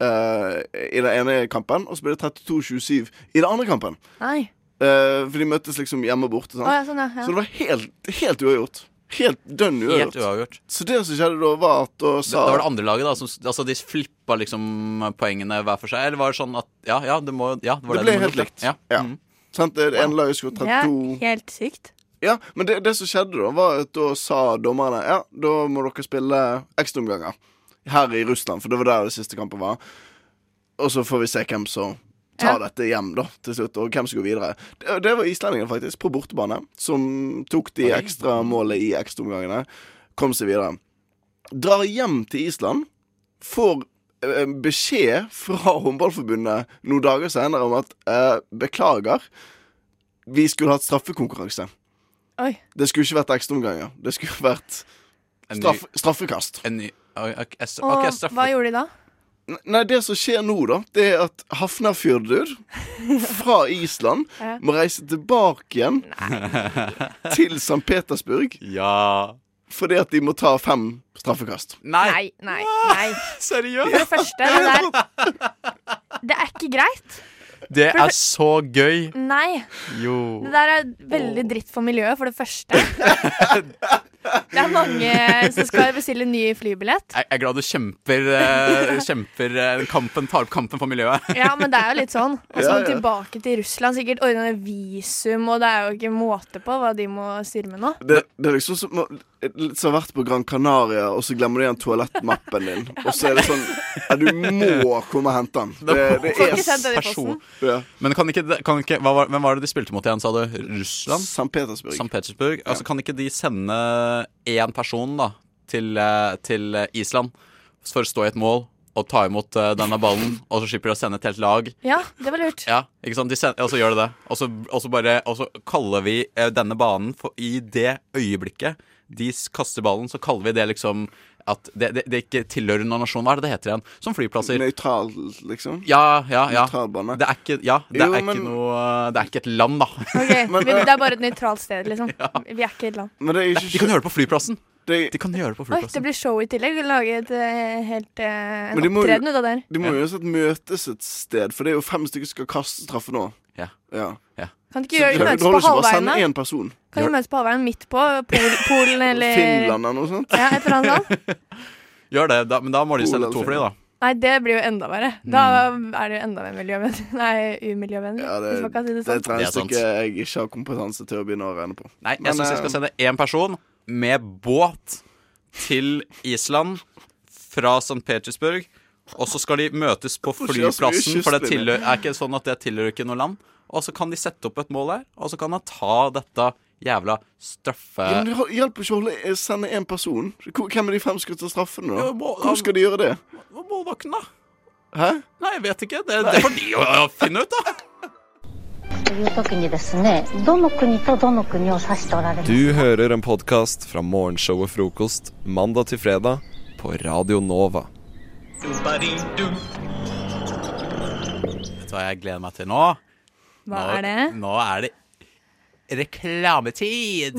Speaker 12: eh, i den ene kampen, og så ble det 32-27 i den andre kampen.
Speaker 11: Nei.
Speaker 12: Eh, for de møttes liksom hjemme og borte. sant?
Speaker 11: Å ja, sånn, ja. ja.
Speaker 12: Så det var helt, helt uavgjort. Helt dønn uavgjort.
Speaker 13: Helt uavgjort.
Speaker 12: Så det som skjedde da, var at da
Speaker 13: Det,
Speaker 12: sa
Speaker 13: det var det andre laget, da. Som, altså, de flippa liksom poengene hver for seg. Eller var det sånn at Ja, ja, det må Ja, det var
Speaker 12: Det
Speaker 13: det.
Speaker 12: ble
Speaker 13: må
Speaker 12: helt
Speaker 13: til.
Speaker 12: likt.
Speaker 13: Ja.
Speaker 12: Ja.
Speaker 13: Mm.
Speaker 12: Sant, det ene laget skulle
Speaker 11: Det er
Speaker 12: 32
Speaker 11: helt sykt.
Speaker 12: Ja, men det, det som skjedde da, var at da sa dommerne Ja, da må dere spille ekstraomganger her i Russland, for det var der det siste kampen var. Og så får vi se hvem som ta
Speaker 11: Ja.
Speaker 12: dette hjem da, til slutt, og hvem som går videre. Det, det var islendingene, faktisk, på bortebane, som tok de ekstra målet i ekstraomgangene. Kom seg videre. Drar hjem til Island, får eh, beskjed fra håndballforbundet noen dager senere om at eh, beklager, vi skulle hatt straffekonkurranse.
Speaker 11: Oi.
Speaker 12: Det skulle ikke vært ekstraomganger. Det skulle vært
Speaker 13: En ny-
Speaker 12: straff, straffekast.
Speaker 13: En ny Oi, ok, jeg s-
Speaker 11: Og
Speaker 13: ok, jeg straffer.
Speaker 11: hva gjorde de da?
Speaker 12: Ne- Nei, det som skjer nå, da, det er at Hafnarfjørdur fra Island
Speaker 11: Ja.
Speaker 12: må reise tilbake igjen til St. Petersburg.
Speaker 13: Ja
Speaker 12: Fordi at de må ta fem straffekast.
Speaker 11: Nei, nei, nei.
Speaker 13: Seriøst?
Speaker 11: For det første, det der Det er ikke greit.
Speaker 13: Det er så gøy.
Speaker 11: Nei.
Speaker 13: Jo.
Speaker 11: Det der er veldig dritt for miljøet, for det første. Det er mange som skal bestille ny flybillett.
Speaker 13: Jeg jeg er glad du kjemper, eh, kjemper eh, kampen, tar opp kampen for miljøet.
Speaker 11: Ja, men det er jo litt sånn. Og så
Speaker 13: Ja,
Speaker 11: må de
Speaker 13: ja.
Speaker 11: tilbake til Russland, sikkert ordne visum, og det er jo ikke måte på hva de må styre med nå.
Speaker 12: Det, det er liksom som, litt som å ha vært på Gran Canaria, og så glemmer du igjen toalettmappen din. Og så er det sånn ja, Du må komme og hente den. Det, det
Speaker 11: Får
Speaker 12: er
Speaker 11: ikke sendt den i posten.
Speaker 12: Ja.
Speaker 13: Men kan ikke, kan ikke hva var, Hvem var det de spilte mot igjen, sa du? Russland?
Speaker 12: St. Petersburg.
Speaker 13: St. Petersburg. Altså, kan ikke de sende én person da til, eh, til eh, Island for å stå i et mål og ta imot eh, denne ballen, og så slipper de å sende et helt lag?
Speaker 11: Ja, det var lurt.
Speaker 13: Ja, ikke sant? De sender, og så gjør de det. Og så, og så bare Og så kaller vi eh, denne banen for I det øyeblikket de s- kaster ballen, så kaller vi det liksom at det, det, det ikke tilhører noen nasjon. Hva er det det heter igjen? Som flyplasser.
Speaker 12: Nøytral, liksom?
Speaker 13: Ja, ja, ja. Det er ikke, ja, det
Speaker 12: Jo,
Speaker 13: er ikke
Speaker 12: men- eh,
Speaker 13: noe Det er ikke et land, da.
Speaker 11: Ok, vi, Det er bare et nøytralt sted, liksom. Vi er ikke et land.
Speaker 13: De kan gjøre det på flyplassen. De kan gjøre det på altså.
Speaker 11: Oi, det
Speaker 13: flyplassen.
Speaker 11: blir show i tillegg. Vi lager et eh, helt eh, en
Speaker 12: Men de må jo-
Speaker 11: opptreden ut av det her.
Speaker 12: De må jo uansett møtes et sted, for det er jo fem stykker som skal kaste straffe nå.
Speaker 13: Ja.
Speaker 11: Kan
Speaker 12: Så
Speaker 11: ikke gjøre,
Speaker 12: det
Speaker 11: møtes
Speaker 12: holder
Speaker 11: på
Speaker 12: ikke bare å
Speaker 11: halvveien,
Speaker 12: sende
Speaker 11: da?
Speaker 12: én person.
Speaker 11: Kan vi møtes på halvveien midt på Pol Polen eller
Speaker 12: Finland eller noe sånt.
Speaker 11: Ja, et eller annet sånt.
Speaker 13: Gjør det, da, men da må de sende
Speaker 12: Polen,
Speaker 13: to fly, da.
Speaker 11: Nei, det blir jo enda verre. Da er det jo enda mer miljøvennlig. Nei, umiljøvennlig.
Speaker 12: Mm. Ja, det,
Speaker 11: hvis man kan si det
Speaker 12: det er
Speaker 11: sånn.
Speaker 12: et
Speaker 13: Det er sant.
Speaker 12: regnestykke jeg ikke har kompetanse til å begynne å regne på.
Speaker 13: Nei, jeg
Speaker 12: Men,
Speaker 13: syns jeg skal
Speaker 12: eh,
Speaker 13: sende én person med båt til Island fra St. Petersburg. Og så skal de møtes på
Speaker 12: Hvorfor skjer så mye
Speaker 13: flyplassen, for det
Speaker 12: kystlinje?
Speaker 13: tilhører, er ikke sånn at det tilhører ikke noe land. Og så kan de sette opp et mål der, og så kan han ta dette jævla straffe...
Speaker 12: Ja, men det hjelper ikke å holde- eh, sende én person. Hvor- Hvem er de fem som skal ta straffene, da?
Speaker 13: Ja, må-
Speaker 12: Hvor skal de gjøre det?
Speaker 13: Hva må vakten, da?
Speaker 12: Hæ?
Speaker 13: Nei, jeg vet ikke. Det, det får de å, å finne ut, da.
Speaker 14: という時にですねどの国とどの国を指しておられます
Speaker 7: Du hører en podkast fra morgenshowet Frokost mandag til fredag på Radio Nova.
Speaker 13: Vet du hva jeg gleder meg til nå?
Speaker 11: Hva
Speaker 13: nå,
Speaker 11: er det?
Speaker 13: Nå er det reklametid!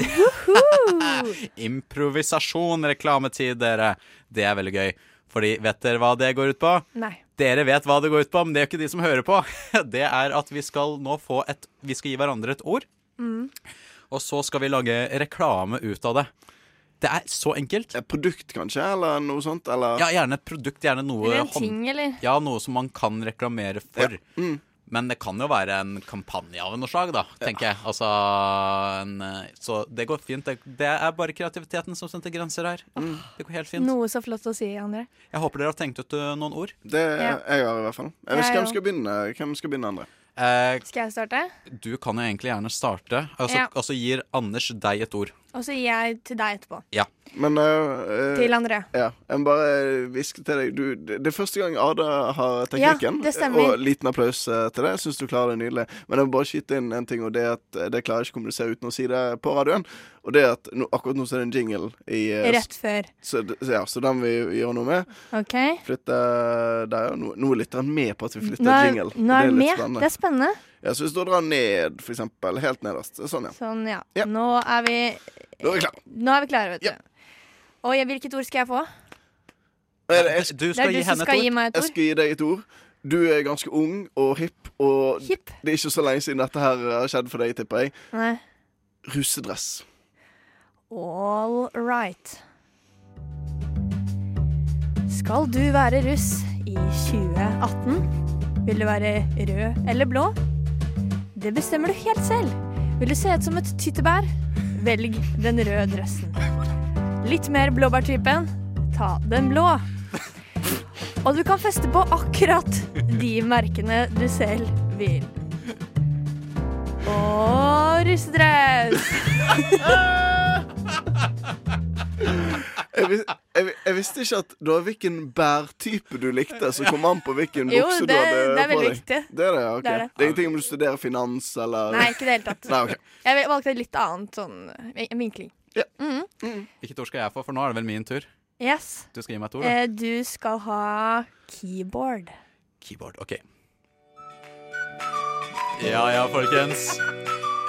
Speaker 13: Improvisasjon, reklametid, dere. Det er veldig gøy. Fordi, vet dere hva det går ut på?
Speaker 11: Nei.
Speaker 13: Dere vet hva det går ut på, men det er jo ikke de som hører på. Det er at vi skal nå få et Vi skal gi hverandre et ord,
Speaker 11: Mm.
Speaker 13: og så skal vi lage reklame ut av det. Det er så enkelt.
Speaker 12: Et produkt, kanskje? Eller noe sånt?
Speaker 13: Ja, gjerne et produkt. Gjerne noe
Speaker 11: Eller en
Speaker 13: hånd-
Speaker 11: ting, eller?
Speaker 13: Ja, noe som man kan reklamere for.
Speaker 12: Mm.
Speaker 13: Men det kan jo være en kampanje av noe slag, da, tenker jeg. Altså, en, eh, så det går fint. Det, det er bare kreativiteten som setter grenser her.
Speaker 12: Mm.
Speaker 13: Det går helt fint.
Speaker 11: Noe så flott å si, André.
Speaker 13: Jeg håper dere har tenkt ut eh, noen ord.
Speaker 12: Det er
Speaker 11: Ja.
Speaker 12: jeg har i hvert fall. Jeg vet
Speaker 11: Jeg
Speaker 12: ikke hvem
Speaker 11: òg.
Speaker 12: skal begynne. Hvem skal begynne andre?
Speaker 13: Eh,
Speaker 11: Skal jeg starte?
Speaker 13: du kan jo egentlig gjerne starte, og så
Speaker 11: Ja.
Speaker 13: og så gir Anders deg et ord.
Speaker 11: Og så gir jeg til deg etterpå.
Speaker 13: Ja.
Speaker 12: Men eh, eh,
Speaker 11: Til André.
Speaker 12: Ja, jeg må bare hviske til deg. Du, det- det er første gang Ada har teknikken.
Speaker 11: Ja, det stemmer.
Speaker 12: og liten applaus eh, til det. Jeg syns du klarer det nydelig. Men jeg må bare skyte inn en ting, og det er at eh, det klarer jeg ikke å kommunisere uten å si det på radioen. Og det er at nå- akkurat nå så er det en jingle i eh,
Speaker 11: Rett før.
Speaker 12: Så, det- så ja, så den vi gjør noe med.
Speaker 11: OK?
Speaker 12: Flytte der, ja. Nå, nå er lytteren med på at vi flytter
Speaker 11: Nå er,
Speaker 12: jingle.
Speaker 11: nå er
Speaker 12: det er
Speaker 11: den med.
Speaker 12: litt
Speaker 11: Det
Speaker 12: spennende.
Speaker 11: er spennende.
Speaker 12: Ja, så hvis du drar ned, for eksempel. Helt nederst. Sånn, ja.
Speaker 11: Sånn, ja. Nå er vi
Speaker 12: Da er vi klare.
Speaker 11: Nå er vi klare, vet du. Og jeg, hvilket ord skal jeg få?
Speaker 13: du
Speaker 11: skal Det er du gi som henne et skal ord. gi meg et ord.
Speaker 12: Jeg skal gi deg et ord. Du er ganske ung og hipp, og det er ikke så lenge siden dette her har skjedd for deg, tipper jeg.
Speaker 11: Nei.
Speaker 12: Russedress.
Speaker 11: All right. Skal du være russ i 2018? Vil du være rød eller blå? Det bestemmer du helt selv. Vil du se ut som et tyttebær? Velg den røde dressen. Litt mer blåbærtypen? Ta den blå. Og du kan feste på akkurat de merkene du selv Lastebil. Og russedress.
Speaker 12: Jeg, vis, jeg, vi- jeg visste ikke at det var hvilken bærtype du likte, som kom an på hvilken
Speaker 11: Jo,
Speaker 12: bukse
Speaker 11: det-
Speaker 12: du
Speaker 11: det
Speaker 12: hadde
Speaker 11: er
Speaker 12: på
Speaker 11: veldig
Speaker 12: deg.
Speaker 11: viktig.
Speaker 12: Det er det, ja, ok.
Speaker 11: Det er det.
Speaker 12: det er ingenting om du studerer finans eller
Speaker 11: Nei, ikke i det hele tatt.
Speaker 12: Nei, ok.
Speaker 11: Jeg vel- valgte et litt annet sånn eh, vinkling. Mhm.
Speaker 13: Hvilket ord skal jeg få, for nå er det vel min tur?
Speaker 11: Yes.
Speaker 13: Du skal gi meg et ord, da.
Speaker 11: Eh, du skal ha keyboard.
Speaker 13: Keyboard, ok Ja, ja, folkens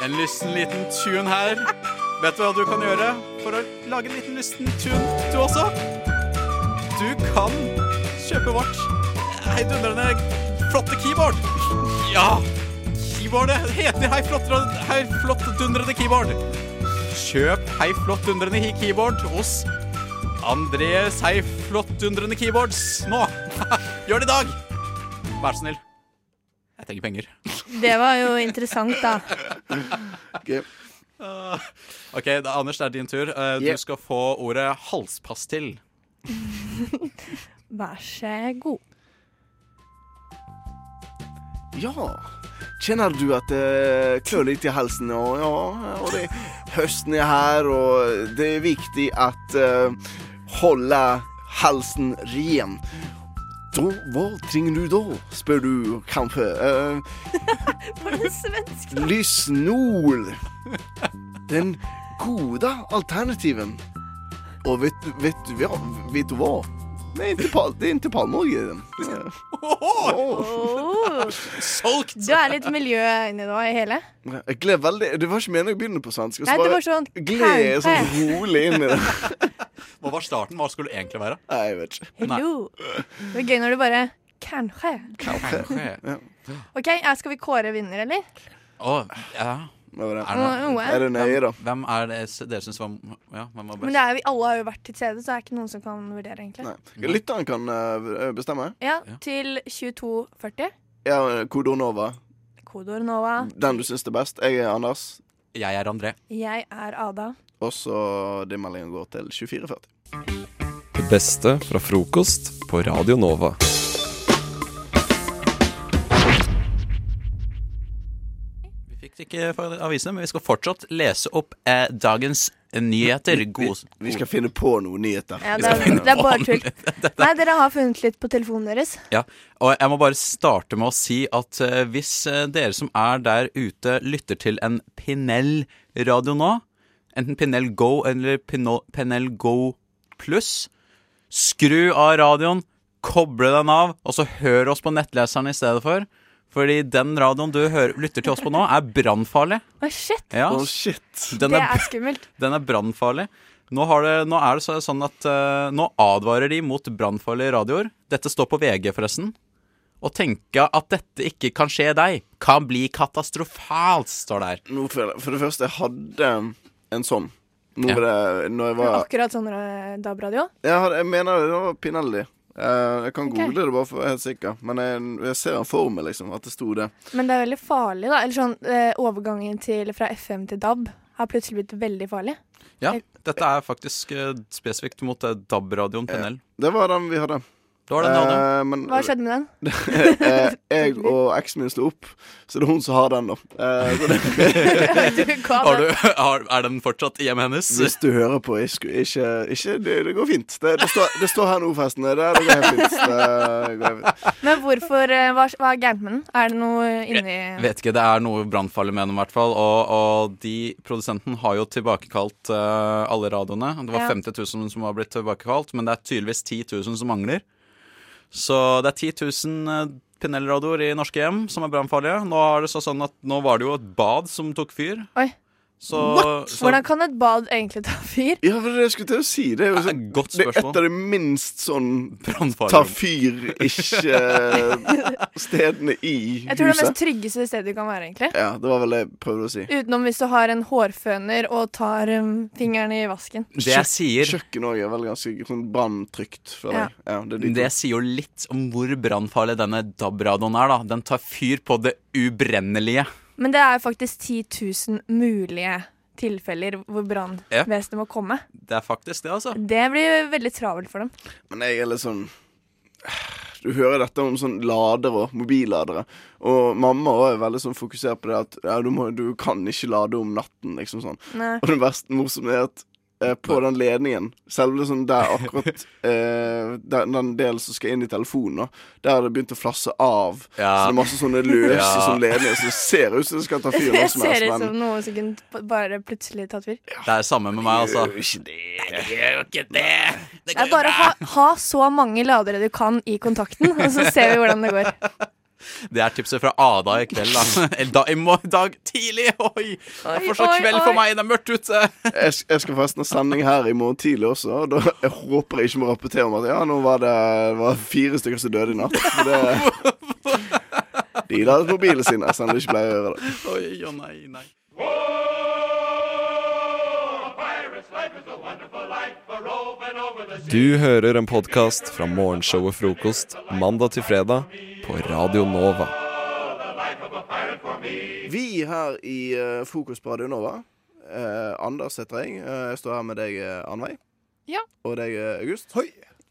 Speaker 13: En lysten liten tune her Vet du hva du kan gjøre for å lage en liten lysten tune du også? Du kan kjøpe vårt heidundrende flotte keyboard Ja, keyboardet heter Hei Flottre- Hei flott dundrende keyboard Kjøp Hei flott dundrende hi- keyboard hos Andreas Hei flott dundrende keyboards Nå, gjør det i dag Vær så snill. Jeg trenger penger.
Speaker 11: Det var jo interessant, da.
Speaker 13: OK, da, Anders, det er din tur. Eh,
Speaker 11: Yep.
Speaker 13: Du skal få ordet halspastill.
Speaker 11: Vær så god.
Speaker 12: Ja. Kjenner du at det klør litt i halsen? Og, ja, og det, høsten er her, og det er viktig at eh, holde halsen ren. Da, hva trenger du da, spør du kanskje. Eh,
Speaker 11: Var det svensk?
Speaker 12: Lysnol. Den gode alternativen. Og vet, du- vet, du hva- vet du hva? Det er ikke, pal det er ikke palmeolje i den.
Speaker 11: Oh.
Speaker 13: Solgt!
Speaker 11: Du er litt miljø inni nå i hele.
Speaker 12: Jeg gled veldig Det var ikke meningen å begynne på svensk.
Speaker 11: Nei, det var sånn
Speaker 12: gled sånn
Speaker 11: krampe.
Speaker 12: rolig inn i det.
Speaker 13: Hva var starten? Hva skulle det egentlig være?
Speaker 12: Nei, jeg vet ikke.
Speaker 11: Hello. Det er gøy når du bare Kanskje.
Speaker 13: Kanskje.
Speaker 11: OK, eh, skal vi kåre vinner, eller?
Speaker 13: Å, ja.
Speaker 11: Mm, wow. Er det
Speaker 12: nøye, da?
Speaker 13: Hvem er det s- dere syns var Ja, hvem var
Speaker 11: Men
Speaker 13: best?
Speaker 11: det er, vi alle har jo vært til stede, så det er ikke noen som kan vurdere, egentlig.
Speaker 12: Lytteren kan eh, bestemme.
Speaker 11: Ja, til 2240.
Speaker 12: Ja, Kodonova.
Speaker 11: Kodord Nova.
Speaker 13: Mm.
Speaker 12: Den du syns er best. Jeg er Anders.
Speaker 13: Jeg er André.
Speaker 11: Jeg er Ada.
Speaker 12: Og så det meldingen går til 2440.
Speaker 7: Det beste fra frokost på Radio Nova.
Speaker 13: Vi fikk det ikke fra avisene, men vi skal fortsatt lese opp eh, dagens nyheter. God,
Speaker 12: Vi skal finne på noen nyheter.
Speaker 11: Ja, det, er, det er bare tull. Nei, dere har funnet litt på telefonen deres.
Speaker 13: Ja, og jeg må bare starte med å si at eh, hvis eh, dere som er der ute lytter til en Pinell-radio nå, enten Pinell Go eller Pino- Pinell Go Pluss, skru av radioen, koble den av, og så hør oss på nettleseren i stedet for. Fordi den radioen du hører, lytter til oss på nå, er brannfarlig.
Speaker 11: Å, shit!
Speaker 13: Ja. Den
Speaker 11: Det
Speaker 13: er,
Speaker 11: er skummelt.
Speaker 13: den er brannfarlig. Nå, har det, nå er det så- sånn at eh, nå advarer de mot brannfarlige radioer. Dette står på VG, forresten. Å tenke at dette ikke kan skje deg, kan bli katastrofalt, står der.
Speaker 12: Nå føler jeg- For det første, jeg hadde en sånn. Nå var det Når jeg var
Speaker 11: Akkurat sånn eh, DAB-radio.
Speaker 12: Jeg, har, jeg mener det var Pinelli. Eh, jeg kan
Speaker 11: Ok.
Speaker 12: google det bare for å være helt sikker, men jeg, jeg ser han for meg, liksom, at det sto det.
Speaker 11: Men det er veldig farlig, da. Eller sånn eh, overgangen til, fra FM til DAB har plutselig blitt veldig farlig.
Speaker 13: Ja, dette er faktisk eh, spesifikt mot eh, DAB-radioen Pinnell.
Speaker 12: Det var den vi hadde.
Speaker 13: Det var den jeg hadde.
Speaker 12: Eh, men-
Speaker 11: Hva skjedde med den?
Speaker 12: Eh, jeg og eksen min slo opp, så det er hun som har den, da. Eh, så det...
Speaker 13: Har du, har, er den fortsatt i hjemmet hennes?
Speaker 12: Hvis du hører på, ikke, ikke, ikke det, det går fint. Det, det, står, det står her nå, forresten. Det, det går helt fint. Det går helt fint.
Speaker 11: Men hvorfor eh, Hva, hva er gærent med den? Er det noe inni
Speaker 13: Vet ikke, det er noe brannfarlig med dem i hvert fall. Og, og de produsenten har jo tilbakekalt eh, alle radioene. Det var
Speaker 11: Ja.
Speaker 13: 50 000 som har blitt tilbakekalt, men det er tydeligvis 10 000 som mangler. Så det er 10 000 Pinell-radioer i norske hjem som er brannfarlige. Nå, er det så sånn at- nå var det jo et bad som tok fyr.
Speaker 11: Oi.
Speaker 13: Så, så
Speaker 11: Hvordan kan et bad egentlig ta fyr?
Speaker 12: Ja, for det jeg skulle til å si, det er jo sånn,
Speaker 13: godt
Speaker 12: det er
Speaker 13: spørsmål.
Speaker 12: et av de minst sånn
Speaker 13: Brannfarlig.
Speaker 12: ta fyr-ikke-stedene eh, i
Speaker 11: Jeg tror det er det mest
Speaker 12: huset.
Speaker 11: tryggeste stedet du kan være, egentlig.
Speaker 12: Ja, det var vel det jeg prøvde å si.
Speaker 11: Utenom hvis du har en hårføner og tar um, fingeren i vasken.
Speaker 13: jeg sier-
Speaker 12: Kjøkken òg er vel ganske sånn branntrygt, føler jeg. Ja, det er de
Speaker 13: det sier jo litt om hvor brannfarlig denne DAB-radioen er. da Den tar fyr på det ubrennelige.
Speaker 11: Men det er faktisk 10 000 mulige tilfeller hvor brannvesenet må komme.
Speaker 13: Det er faktisk det, altså.
Speaker 11: Det blir veldig travelt for dem.
Speaker 12: Men jeg er litt sånn liksom, Du hører dette om sånn ladere, mobilladere. Og mamma også er veldig sånn fokusert på det at ja, du, må, du kan ikke lade om natten, liksom sånn.
Speaker 11: Nei.
Speaker 12: Og det verste morsomme er at eh, på den ledningen, selve sånn der akkurat eh, den, den delen som skal inn i telefonen, da, der har det begynt å flasse av. Så
Speaker 13: Ja.
Speaker 12: det er masse sånne løse
Speaker 13: Ja.
Speaker 12: sånn ledninger som ser ut som det skal ta fyr nå
Speaker 11: Jeg
Speaker 12: som
Speaker 11: ser
Speaker 12: helst.
Speaker 11: ut
Speaker 12: Men
Speaker 11: som noe som kunne p- bare plutselig tatt fyr.
Speaker 13: Det er samme med meg, altså.
Speaker 12: Nei,
Speaker 13: det gjør jo ikke det.
Speaker 11: Det er bare å ha, ha så mange ladere du kan i kontakten, og så ser vi hvordan det går.
Speaker 13: Det er tipset fra Ada i kveld, da. Eller da, i mor- dag tidlig! Oi! Det er fortsatt
Speaker 11: oi,
Speaker 13: kveld
Speaker 11: oi.
Speaker 13: for meg, det er mørkt ute!
Speaker 12: jeg, sk- jeg skal forresten ha sending her i morgen tidlig også. Og da, jeg håper jeg ikke må rapportere om at ja, nå var det, det var fire stykker som døde i natt. For det, de ladet mobilen sin, jeg sender ikke pleier å gjøre det.
Speaker 13: Oi, å nei, nei.
Speaker 7: Du hører en podkast fra morgenshowet Frokost mandag til fredag på Radio Nova.
Speaker 12: Vi her i eh, Fokus på Radio Nova. eh, Anders heter jeg. Eh, jeg står her med deg, uh, Annveig.
Speaker 4: Ja.
Speaker 12: Og deg, eh, August.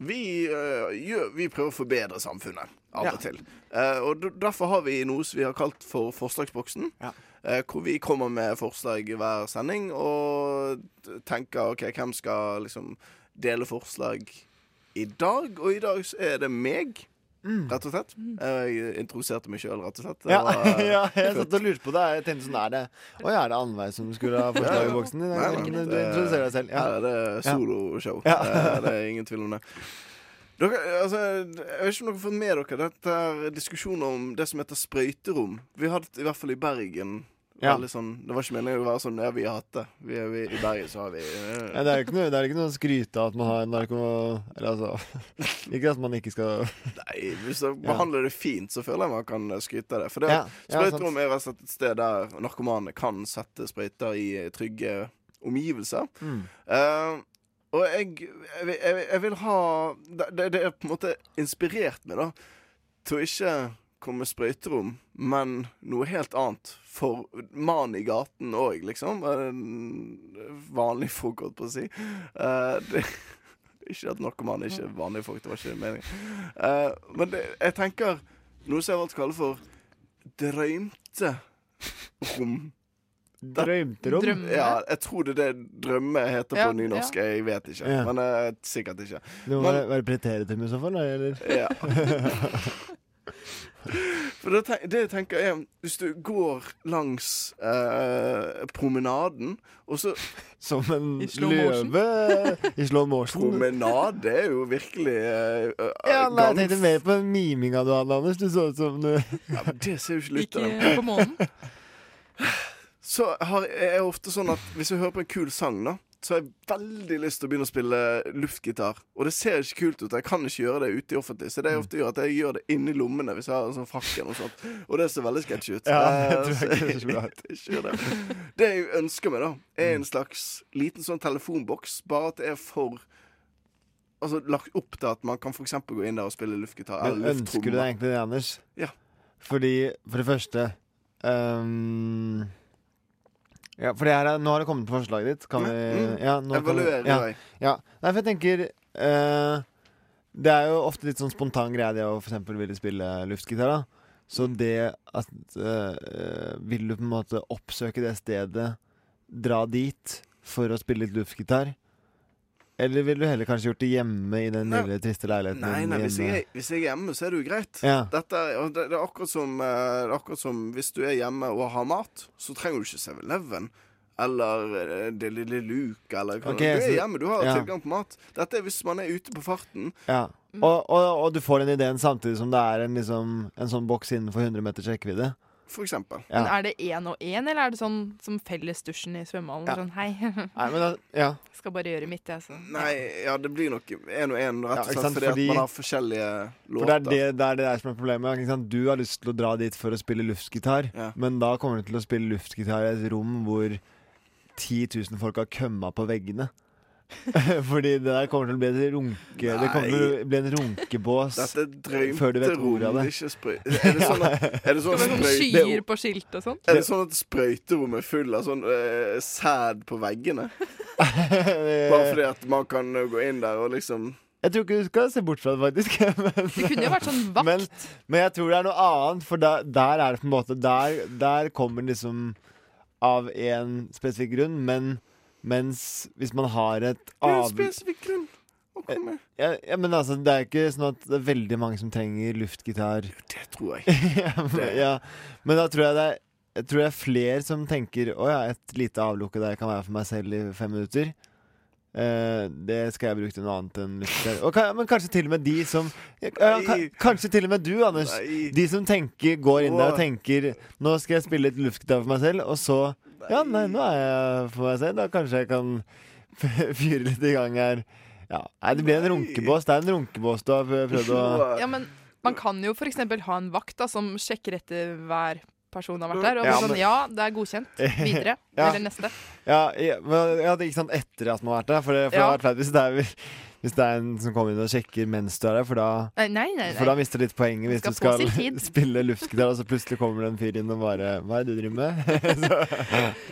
Speaker 12: Vi, eh, gjør, vi prøver å forbedre samfunnet av
Speaker 15: Ja.
Speaker 12: og til. Eh, og d- derfor har vi noe som vi har kalt for Forslagsboksen. eh, hvor vi kommer med forslag i hver sending og t- tenker OK, hvem skal liksom dele forslag i dag? Og i dag så er det meg. Rett og slett. Jeg introduserte meg sjøl, rett og slett.
Speaker 15: Mm.
Speaker 12: Det
Speaker 15: Ja,
Speaker 12: var- eh,
Speaker 15: ja, jeg satt og lurte på det. Jeg tenkte sånn er det Å ja, er det Annveig som skulle ha forslag i boksen? din?
Speaker 12: Nei, nei,
Speaker 15: Men Du
Speaker 12: det-
Speaker 15: introduserer deg selv.
Speaker 12: Her er
Speaker 15: Ja.
Speaker 12: det soloshow.
Speaker 15: Ja.
Speaker 12: Eh, Det er ingen tvil om det. Dere, altså, jeg vet ikke om dere har fått med dere dette er diskusjonen om det som heter sprøyterom. Vi hadde det i hvert fall i Bergen.
Speaker 15: Ja.
Speaker 12: Veldig Sånn, det var ikke meningen å være sånn Ja, vi har hatt det. Vi, vi, I Bergen så har vi eh,
Speaker 15: Ja, det er jo ikke noe, det er ikke noe å skryte av at man har narko... Eller altså Ikke at man ikke skal
Speaker 12: Nei, hvis man behandler det fint, så føler jeg man kan eh, skryte av det. For det,
Speaker 15: Ja, ja,
Speaker 12: sprøyterom er rett og slett et sted der narkomane kan sette sprøyter i eh, trygge omgivelser.
Speaker 15: Mm.
Speaker 12: Eh, og jeg, jeg, vil- jeg, vil- jeg vil ha det, det- det er på en måte inspirert meg, da, til å ikke komme med sprøyterom, men noe helt annet. For mannen i gaten òg, liksom. Eh, Vanlige folk, holdt på å si. Eh, det, ikke at narkomane ikke er vanlige folk, det var ikke meningen. Eh, men det, jeg tenker noe som jeg har valgt å kalle for drømte rom.
Speaker 15: Drømterom? Drømme?
Speaker 12: Ja, jeg tror det er det drømme heter på
Speaker 15: Ja,
Speaker 12: nynorsk.
Speaker 15: ja.
Speaker 12: Jeg vet ikke,
Speaker 15: Ja.
Speaker 12: men eh, sikkert ikke.
Speaker 15: Det må
Speaker 12: Men-
Speaker 15: være, være preteritum i så fall, da, eller?
Speaker 12: Ja. For det, tenk, det jeg tenker jeg Hvis du går langs eh, promenaden, og så
Speaker 15: Som en
Speaker 12: I slow motion.
Speaker 15: løve i slow motion.
Speaker 12: Promenade er jo virkelig eh, eh,
Speaker 15: Ja, nei, jeg
Speaker 12: gans-
Speaker 15: tenkte mer på den miminga du hadde, Anders. Du så ut som du
Speaker 12: Ja, men det ser jo ikke lytteren. på månen. Så har, er jeg ofte sånn at hvis jeg hører på en kul sang, da, så har jeg veldig lyst til å begynne å spille luftgitar. Og det ser ikke kult ut. Jeg kan ikke gjøre det ute i offentlig. Så det jeg ofte gjør, at jeg gjør det inni lommene hvis jeg har en sånn frakk eller noe sånt. Og det ser veldig sketsjy ut.
Speaker 15: Ja, det
Speaker 12: Eh,
Speaker 15: tror jeg
Speaker 12: så
Speaker 15: ikke ser så bra ut.
Speaker 12: ikke gjør det. Det jeg ønsker meg, da, er en slags liten sånn telefonboks, bare at det er for Altså lagt opp til at man kan for eksempel gå inn der og spille luftgitar.
Speaker 15: Men
Speaker 12: eller
Speaker 15: ønsker du deg
Speaker 12: lufttromme.
Speaker 15: egentlig det, Anders?
Speaker 12: Ja.
Speaker 15: Fordi, for det første ehm, Ja, for det her er, nå har det kommet på forslaget ditt. Kan vi
Speaker 12: Mm, mm.
Speaker 15: ja, nå kan vi-
Speaker 12: Evaluere
Speaker 15: ja,
Speaker 12: deg.
Speaker 15: Ja. Nei, for jeg tenker eh, Det er jo ofte litt sånn spontan greie det å for eksempel ville spille luftgitar, da. Så
Speaker 12: Mm.
Speaker 15: det at eh, eh, Vil du på en måte oppsøke det stedet, dra dit for å spille litt luftgitar? Eller ville du heller kanskje gjort det hjemme i den
Speaker 12: Nei.
Speaker 15: lille, triste leiligheten
Speaker 12: Nei,
Speaker 15: din
Speaker 12: nei hvis,
Speaker 15: hjemme?
Speaker 12: jeg, er- hvis jeg er hjemme, så er det jo greit.
Speaker 15: Ja.
Speaker 12: Dette er, og det, det, er akkurat som, eh, det er akkurat som hvis du er hjemme og har mat, så trenger du ikke 7-Eleven. Eller eh, Det lille Luke, eller hva
Speaker 15: Ok,
Speaker 12: det er. Du
Speaker 15: så-
Speaker 12: er hjemme, du har
Speaker 15: ja.
Speaker 12: tilgang på mat. Dette er hvis man er ute på farten.
Speaker 15: Ja.
Speaker 16: Mm.
Speaker 15: Og, og, og du får den ideen samtidig som det er en, liksom, en sånn boks innenfor 100 meters rekkevidde.
Speaker 12: For eksempel.
Speaker 15: Ja.
Speaker 16: Men er det én og én, eller er det sånn som fellesdusjen i svømmehallen?
Speaker 15: Ja.
Speaker 16: Sånn, hei,
Speaker 15: Nei, men da, ja.
Speaker 16: skal bare gjøre mitt, jeg. Så.
Speaker 12: Nei, ja, det blir nok én og én, rett
Speaker 15: Ja,
Speaker 12: og
Speaker 15: ikke
Speaker 12: slett,
Speaker 15: sant,
Speaker 12: fordi,
Speaker 15: fordi-
Speaker 12: at man har forskjellige
Speaker 15: For det
Speaker 12: låter.
Speaker 15: er det, det er det der som er problemet. Ikke sant? Du har lyst til å dra dit for å spille luftgitar, men da kommer du til å spille luftgitar i et rom hvor 10 000 folk har kømma på veggene. Fordi det der kommer til å bli et runke Det kommer til å bli en runkebås
Speaker 12: Dette er
Speaker 15: eh, før du
Speaker 12: drømte
Speaker 15: vet ordet
Speaker 12: rom,
Speaker 15: av det.
Speaker 12: ikke sprøy... Er det sånn at, er det sånn
Speaker 16: Skal
Speaker 12: at
Speaker 16: det være sånn
Speaker 12: sprøy-
Speaker 16: skyer på skilt og sånn?
Speaker 12: Er det sånn at sprøyterommet er full av sånn eh, sæd på veggene? Bare fordi at man kan eh, gå inn der og liksom
Speaker 15: Jeg tror ikke du skal se bort fra det, faktisk. Men,
Speaker 16: Det kunne jo vært sånn vakt.
Speaker 15: Men, men jeg tror det er noe annet, for der, der er det på en måte Der, der kommer det liksom av én spesifikk grunn, men mens hvis man har et
Speaker 12: En
Speaker 15: av...
Speaker 12: spesifikk grunn å komme.
Speaker 15: Ja, ja, men altså, det er ikke sånn at det er veldig mange som trenger luftgitar.
Speaker 12: Det tror jeg.
Speaker 15: ja, men,
Speaker 12: Det-
Speaker 15: ja. men da tror jeg det er jeg tror det er flere som tenker å ja, et lite avlukke der jeg kan være for meg selv i fem minutter. Eh, det skal jeg bruke til noe annet enn luftgitar. Og, ka- men kanskje til og med de som ja, ka, Kanskje til og med du, Anders. De som tenker, går inn der og tenker Nå skal jeg spille litt luftgitar for meg selv, og så Ja, nei, nå er jeg for meg selv. Da kanskje jeg kan fyre litt i gang her. Ja. Nei, det blir en runkebås. Det er en runkebås du har prøvd å
Speaker 16: Ja, men man kan jo f.eks. ha en vakt da, som sjekker etter hver person har vært der. Og
Speaker 15: Ja,
Speaker 16: ja, sånn,
Speaker 15: men-
Speaker 16: ja, det er godkjent. Videre.
Speaker 15: Ja.
Speaker 16: Eller neste.
Speaker 15: Ja, ja, men- ja, det er ikke sant etter at man har vært der. For det, for det
Speaker 16: Ja.
Speaker 15: har vært flaut hvis, det er- hvis det er en som kommer inn og sjekker mens du er der, for da,
Speaker 16: Nei, nei, nei.
Speaker 15: For da mister du litt poenget hvis
Speaker 16: Skal
Speaker 15: du skal
Speaker 16: få sin tid.
Speaker 15: spille luftgitar, og så plutselig kommer det en fyr inn og bare Hva er det du driver med? så,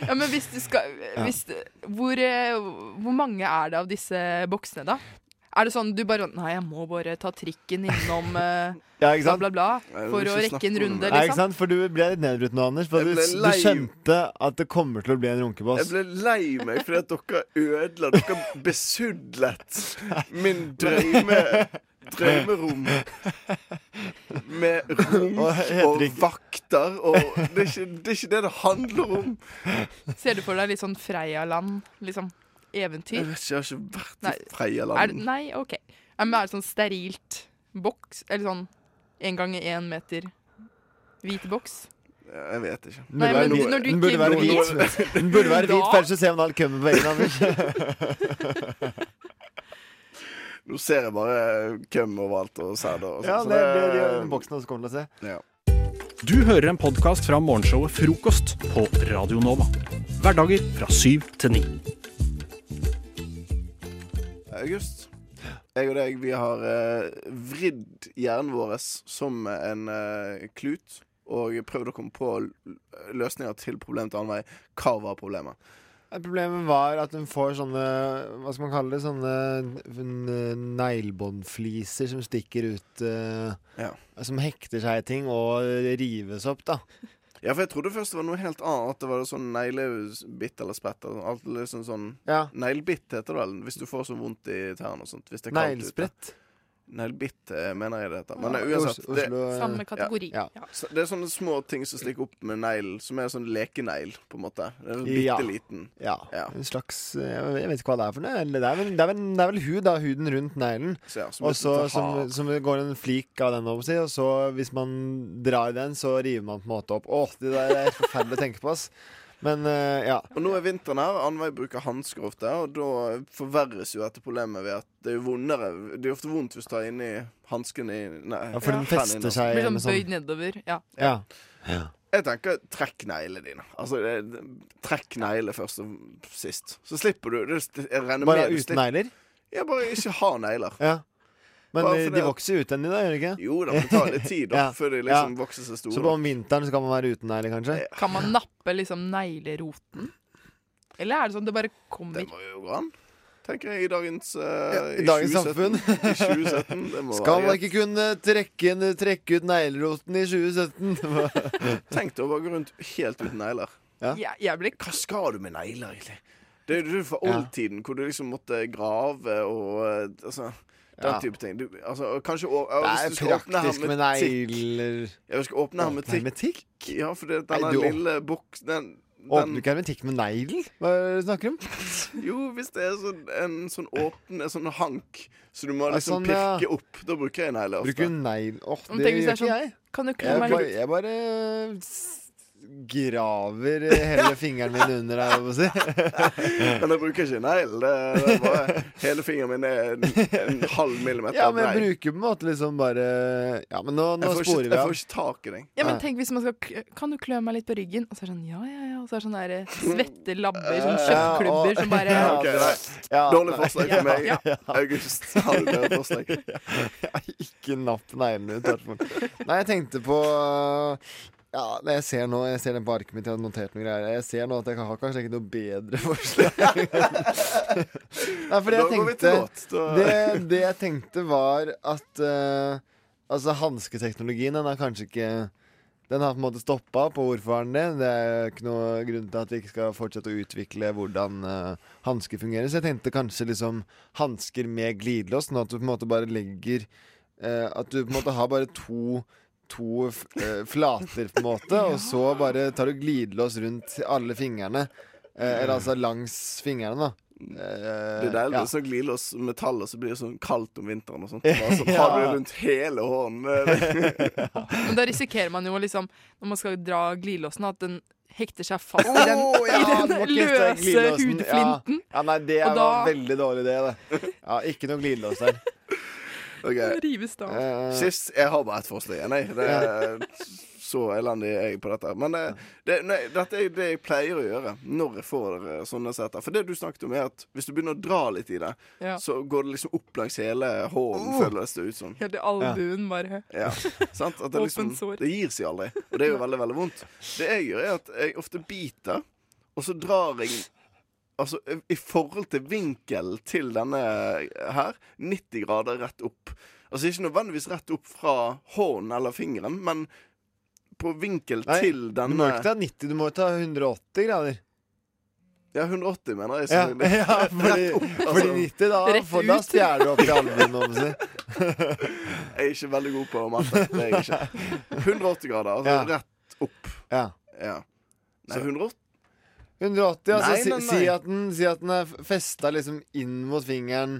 Speaker 16: Ja, men hvis du skal
Speaker 15: Ja.
Speaker 16: hvis, hvor, eh, hvor mange er det av disse boksene, da? Er det sånn du bare Nei, jeg må bare ta trikken innom eh,
Speaker 15: ja, ikke sant?
Speaker 16: bla, bla, bla, for å rekke en runde,
Speaker 15: Ja, ikke
Speaker 16: liksom.
Speaker 15: sant? For du ble litt nedbrutt nå, Anders. For
Speaker 12: Jeg
Speaker 15: du,
Speaker 12: ble
Speaker 15: du
Speaker 12: lei-
Speaker 15: skjønte at det kommer til å bli en runkebås.
Speaker 12: Jeg ble lei meg fordi at dere ødela Dere besudlet min drøyme drømmerom med rom og vakter og det er, ikke, det er ikke det det handler om.
Speaker 16: Ser du for deg litt sånn Freia-land? Liksom eventyr?
Speaker 12: Jeg vet ikke, jeg har ikke vært
Speaker 16: Nei.
Speaker 12: i Freialand.
Speaker 16: Er det- nei, OK. Ja, Men er det sånn sterilt boks? Eller sånn én ganger én meter hvit boks?
Speaker 12: Jeg vet ikke.
Speaker 16: Nei,
Speaker 15: Det
Speaker 16: men
Speaker 15: burde være
Speaker 16: når du
Speaker 15: hvit. Den burde
Speaker 16: ikke
Speaker 15: være
Speaker 16: blir-
Speaker 15: hvit. Den burde være hvit,
Speaker 16: Da-
Speaker 15: for ellers så ser man alt kømmet på egen, Anders.
Speaker 12: Nå ser jeg bare køm overalt og sæder og sånn.
Speaker 15: Ja,
Speaker 12: så
Speaker 15: det er det de gjør med boksen også kommer til å se.
Speaker 12: ja.
Speaker 1: Du hører en podkast fra morgenshowet Frokost på Radio Nova. Hverdager fra syv til ni.
Speaker 12: August, jeg og deg, vi har eh, vridd hjernen vår som en eh, klut og prøvd å komme på l- løsninger til problemet til annen vei. Hva var problemet?
Speaker 15: Problemet var at hun får sånne Hva skal man kalle det? Sånne n- neglebåndfliser som stikker ut eh, Som hekter seg i ting og rives opp, da.
Speaker 12: Ja, for jeg trodde først det var noe helt annet. At det var sånn neglebitt eller spett. eller Alt liksom sånn
Speaker 15: Ja.
Speaker 12: Neglebitt heter det vel, hvis du får så vondt i tærne og sånt. Hvis det er kaldt ute.
Speaker 15: Neglesprett.
Speaker 12: Neglebitt eh, mener jeg det heter. Men
Speaker 15: Ja,
Speaker 12: eh, uansett.
Speaker 15: Os-
Speaker 12: Det,
Speaker 15: Oslo, eh, Samme kategori.
Speaker 12: Ja. Så Det er sånne små ting som stikker opp med negl, som er sånn lekenegl, på en måte. Det er sånn
Speaker 15: Ja.
Speaker 12: bitte liten.
Speaker 15: Ja. En slags eh, Jeg vet ikke hva det er for noe. eller Det er vel, det er vel, det er vel hud, da. Huden rundt neglen.
Speaker 12: Så ja, som
Speaker 15: Og
Speaker 12: et
Speaker 15: så
Speaker 12: lite
Speaker 15: som,
Speaker 12: hak.
Speaker 15: som det går en flik av den over seg, og så hvis man drar i den, så river man på en måte opp. Åh, det der er helt forferdelig å tenke på, ass. Men eh, ja.
Speaker 12: Og nå er vinteren her, Annveig bruker hansker ofte, og da forverres jo dette problemet ved at det er jo vondere Det er jo ofte vondt hvis du tar inni hansken i Nei.
Speaker 15: Ja, for den
Speaker 12: fanen
Speaker 15: fester
Speaker 12: innom.
Speaker 15: seg
Speaker 16: Blir sånn bøyd nedover. Ja.
Speaker 15: ja.
Speaker 12: Jeg tenker trekk neglene dine. Altså, det- trekk neglene først og sist. Så slipper du. Det, det, jeg regner
Speaker 15: Bare
Speaker 12: med du
Speaker 15: uten
Speaker 12: slipper-
Speaker 15: negler?
Speaker 12: Ja, bare ikke ha negler.
Speaker 15: Ja. Men
Speaker 12: Bare
Speaker 15: eh,
Speaker 12: fordi
Speaker 15: de
Speaker 12: at-
Speaker 15: vokser jo ut ennå, gjør de ikke?
Speaker 12: Jo da, men det tar litt tid da, før de liksom vokser seg store.
Speaker 15: Så på om vinteren så kan man være uten negler, kanskje?
Speaker 16: Kan man nappe liksom negleroten? Eller er det sånn det bare kommer? Det
Speaker 12: må jo gå an. Tenker jeg i dagens eh,
Speaker 15: I dagens
Speaker 12: 2017.
Speaker 15: samfunn.
Speaker 12: I 2017. Det må
Speaker 15: Skal man
Speaker 12: være
Speaker 15: ikke kunne trekke, en- trekke ut negleroten i 2017?
Speaker 12: Tenk deg å bare gå rundt helt uten negler.
Speaker 16: Jeg, jeg ble
Speaker 12: Hva skal du med negler, egentlig? Det er jo fra oldtiden, hvor du liksom måtte grave og eh, altså, den
Speaker 15: Ja.
Speaker 12: type ting. Du, altså, og kanskje å- ja,
Speaker 15: Det
Speaker 12: hvis
Speaker 15: er
Speaker 12: du skal åpne
Speaker 15: praktisk med
Speaker 12: hermetikk.
Speaker 15: negler.
Speaker 12: Ja, vi skal åpne
Speaker 15: Åpne
Speaker 12: hermetikk. Ja, for det,
Speaker 15: Nei,
Speaker 12: denne
Speaker 15: du åp-
Speaker 12: lille boks... Den,
Speaker 15: Åpner du
Speaker 12: den,
Speaker 15: ikke hermetikk med negl? Hva er det du snakker om?
Speaker 12: jo, hvis det er sånn, en sånn åpen en sånn hank, så du må
Speaker 15: Ja,
Speaker 12: liksom
Speaker 15: sånn, ja.
Speaker 12: pirke opp. Da bruker jeg negler ofte.
Speaker 15: Bruker du negl Åh,
Speaker 16: Men
Speaker 15: det
Speaker 16: tenk
Speaker 15: gjør
Speaker 16: hvis det er
Speaker 15: ikke
Speaker 16: sånn,
Speaker 15: jeg.
Speaker 16: kan du klemme
Speaker 15: Jeg
Speaker 16: meg
Speaker 15: bare,
Speaker 16: litt?
Speaker 15: jeg bare eh, s- graver eh, hele fingeren min under her, holdt jeg på å si.
Speaker 12: Men jeg bruker ikke negl. Det, det er bare, hele fingeren min er en, en halv millimeter.
Speaker 15: Ja, men
Speaker 12: brei.
Speaker 15: jeg bruker på en måte liksom bare Ja, men nå, nå
Speaker 12: jeg får,
Speaker 15: sporer vi
Speaker 12: ikke, jeg
Speaker 15: av.
Speaker 12: får ikke tak i deg.
Speaker 16: Ja, men
Speaker 15: Nei.
Speaker 16: tenk hvis man skal k- Kan du klø meg litt på ryggen? Og så er det sånn ja, ja, ja. Og så er det sånn der eh, svette labber, sånn kjøttklubber som bare
Speaker 15: Ja,
Speaker 12: Eh, Ok, nei.
Speaker 15: Ja,
Speaker 12: Dårlig
Speaker 15: nei.
Speaker 12: forslag for meg. August, har du bedre forslag?
Speaker 15: Ikke napp neglene ut. i hvert fall. Nei, jeg tenkte på eh, Ja, men jeg ser nå Jeg ser den på arket mitt, jeg har notert noen greier. Jeg ser nå at jeg har kanskje ikke noe bedre forslag. Nei, fordi
Speaker 12: Da
Speaker 15: jeg
Speaker 12: går vi
Speaker 15: tenkte
Speaker 12: til låt, da.
Speaker 15: det, det jeg tenkte, var at eh, Altså, hansketeknologien, den er kanskje ikke Den har på en måte stoppa opp, og hvorfor har den det? Det er ikke noe grunn til at vi ikke skal fortsette å utvikle hvordan eh, hansker fungerer. Så jeg tenkte kanskje liksom hansker med glidelås, sånn at du på en måte bare legger eh, At du på en måte har bare to to f- eh, flater, på en måte, og så bare tar du glidelås rundt alle fingrene. Eh, eller altså langs fingrene, da. Eh,
Speaker 12: Det er deilig.
Speaker 15: ja.
Speaker 12: Så glir det oss metall, og så blir det sånn kaldt om vinteren og sånt. Bare sånn har du det rundt hele hånden.
Speaker 16: Men da risikerer man jo liksom, når man skal dra glidelåsen, at den hekter seg fast i den,
Speaker 15: Å, ja,
Speaker 16: i
Speaker 15: du må
Speaker 16: den
Speaker 15: ikke knytte
Speaker 16: løse
Speaker 15: glidelåsen.
Speaker 16: hudflinten.
Speaker 15: sånn. Ja. ja, nei, det
Speaker 16: Og
Speaker 15: var
Speaker 16: da-
Speaker 15: veldig dårlig idé, det. Ja, ikke noe glidelås der.
Speaker 12: Ok.
Speaker 16: Rives da.
Speaker 15: Eh,
Speaker 12: Sist, jeg har bare ett forslag igjen, jeg. Det er så elendig er jeg på dette. Men eh, det, nei, dette er jo det jeg pleier å gjøre når jeg får eh, sånne setter. For det du snakket om, er at hvis du begynner å dra litt i det,
Speaker 16: Ja.
Speaker 12: så går det liksom opp langs hele hånden,
Speaker 15: Uh.
Speaker 16: Oh.
Speaker 12: føles det ut som.
Speaker 16: Helt i albuen, bare.
Speaker 12: Ja, sant? At det, liksom,
Speaker 16: Åpent sår.
Speaker 12: det gir seg aldri. Og det er jo veldig, veldig vondt. Det jeg gjør, er at jeg ofte biter, og så drar jeg Altså, i forhold til vinkelen til denne her, 90 grader rett opp. Altså ikke nødvendigvis rett opp fra hånden eller fingeren, men på vinkel
Speaker 15: Nei,
Speaker 12: til eh.
Speaker 15: Du
Speaker 12: denne
Speaker 15: må ikke ta 90, du må ta 180 grader.
Speaker 12: Ja, 180, mener jeg.
Speaker 15: Ja,
Speaker 12: selvfølgelig.
Speaker 15: ja fordi,
Speaker 12: Rett opp, altså.
Speaker 15: fordi 90, da,
Speaker 12: Rett
Speaker 15: for, da
Speaker 12: ut.
Speaker 15: stjeler du opp i albuen. om å si.
Speaker 12: Jeg er ikke veldig god på matte. Det er jeg ikke. 180 grader, altså
Speaker 15: Ja.
Speaker 12: rett opp.
Speaker 15: Ja.
Speaker 12: Ja. Nei, 180
Speaker 15: 180, altså
Speaker 12: Nei,
Speaker 15: si,
Speaker 12: nei,
Speaker 15: Si,
Speaker 12: nei.
Speaker 15: at den, si at den er festa liksom inn mot fingeren.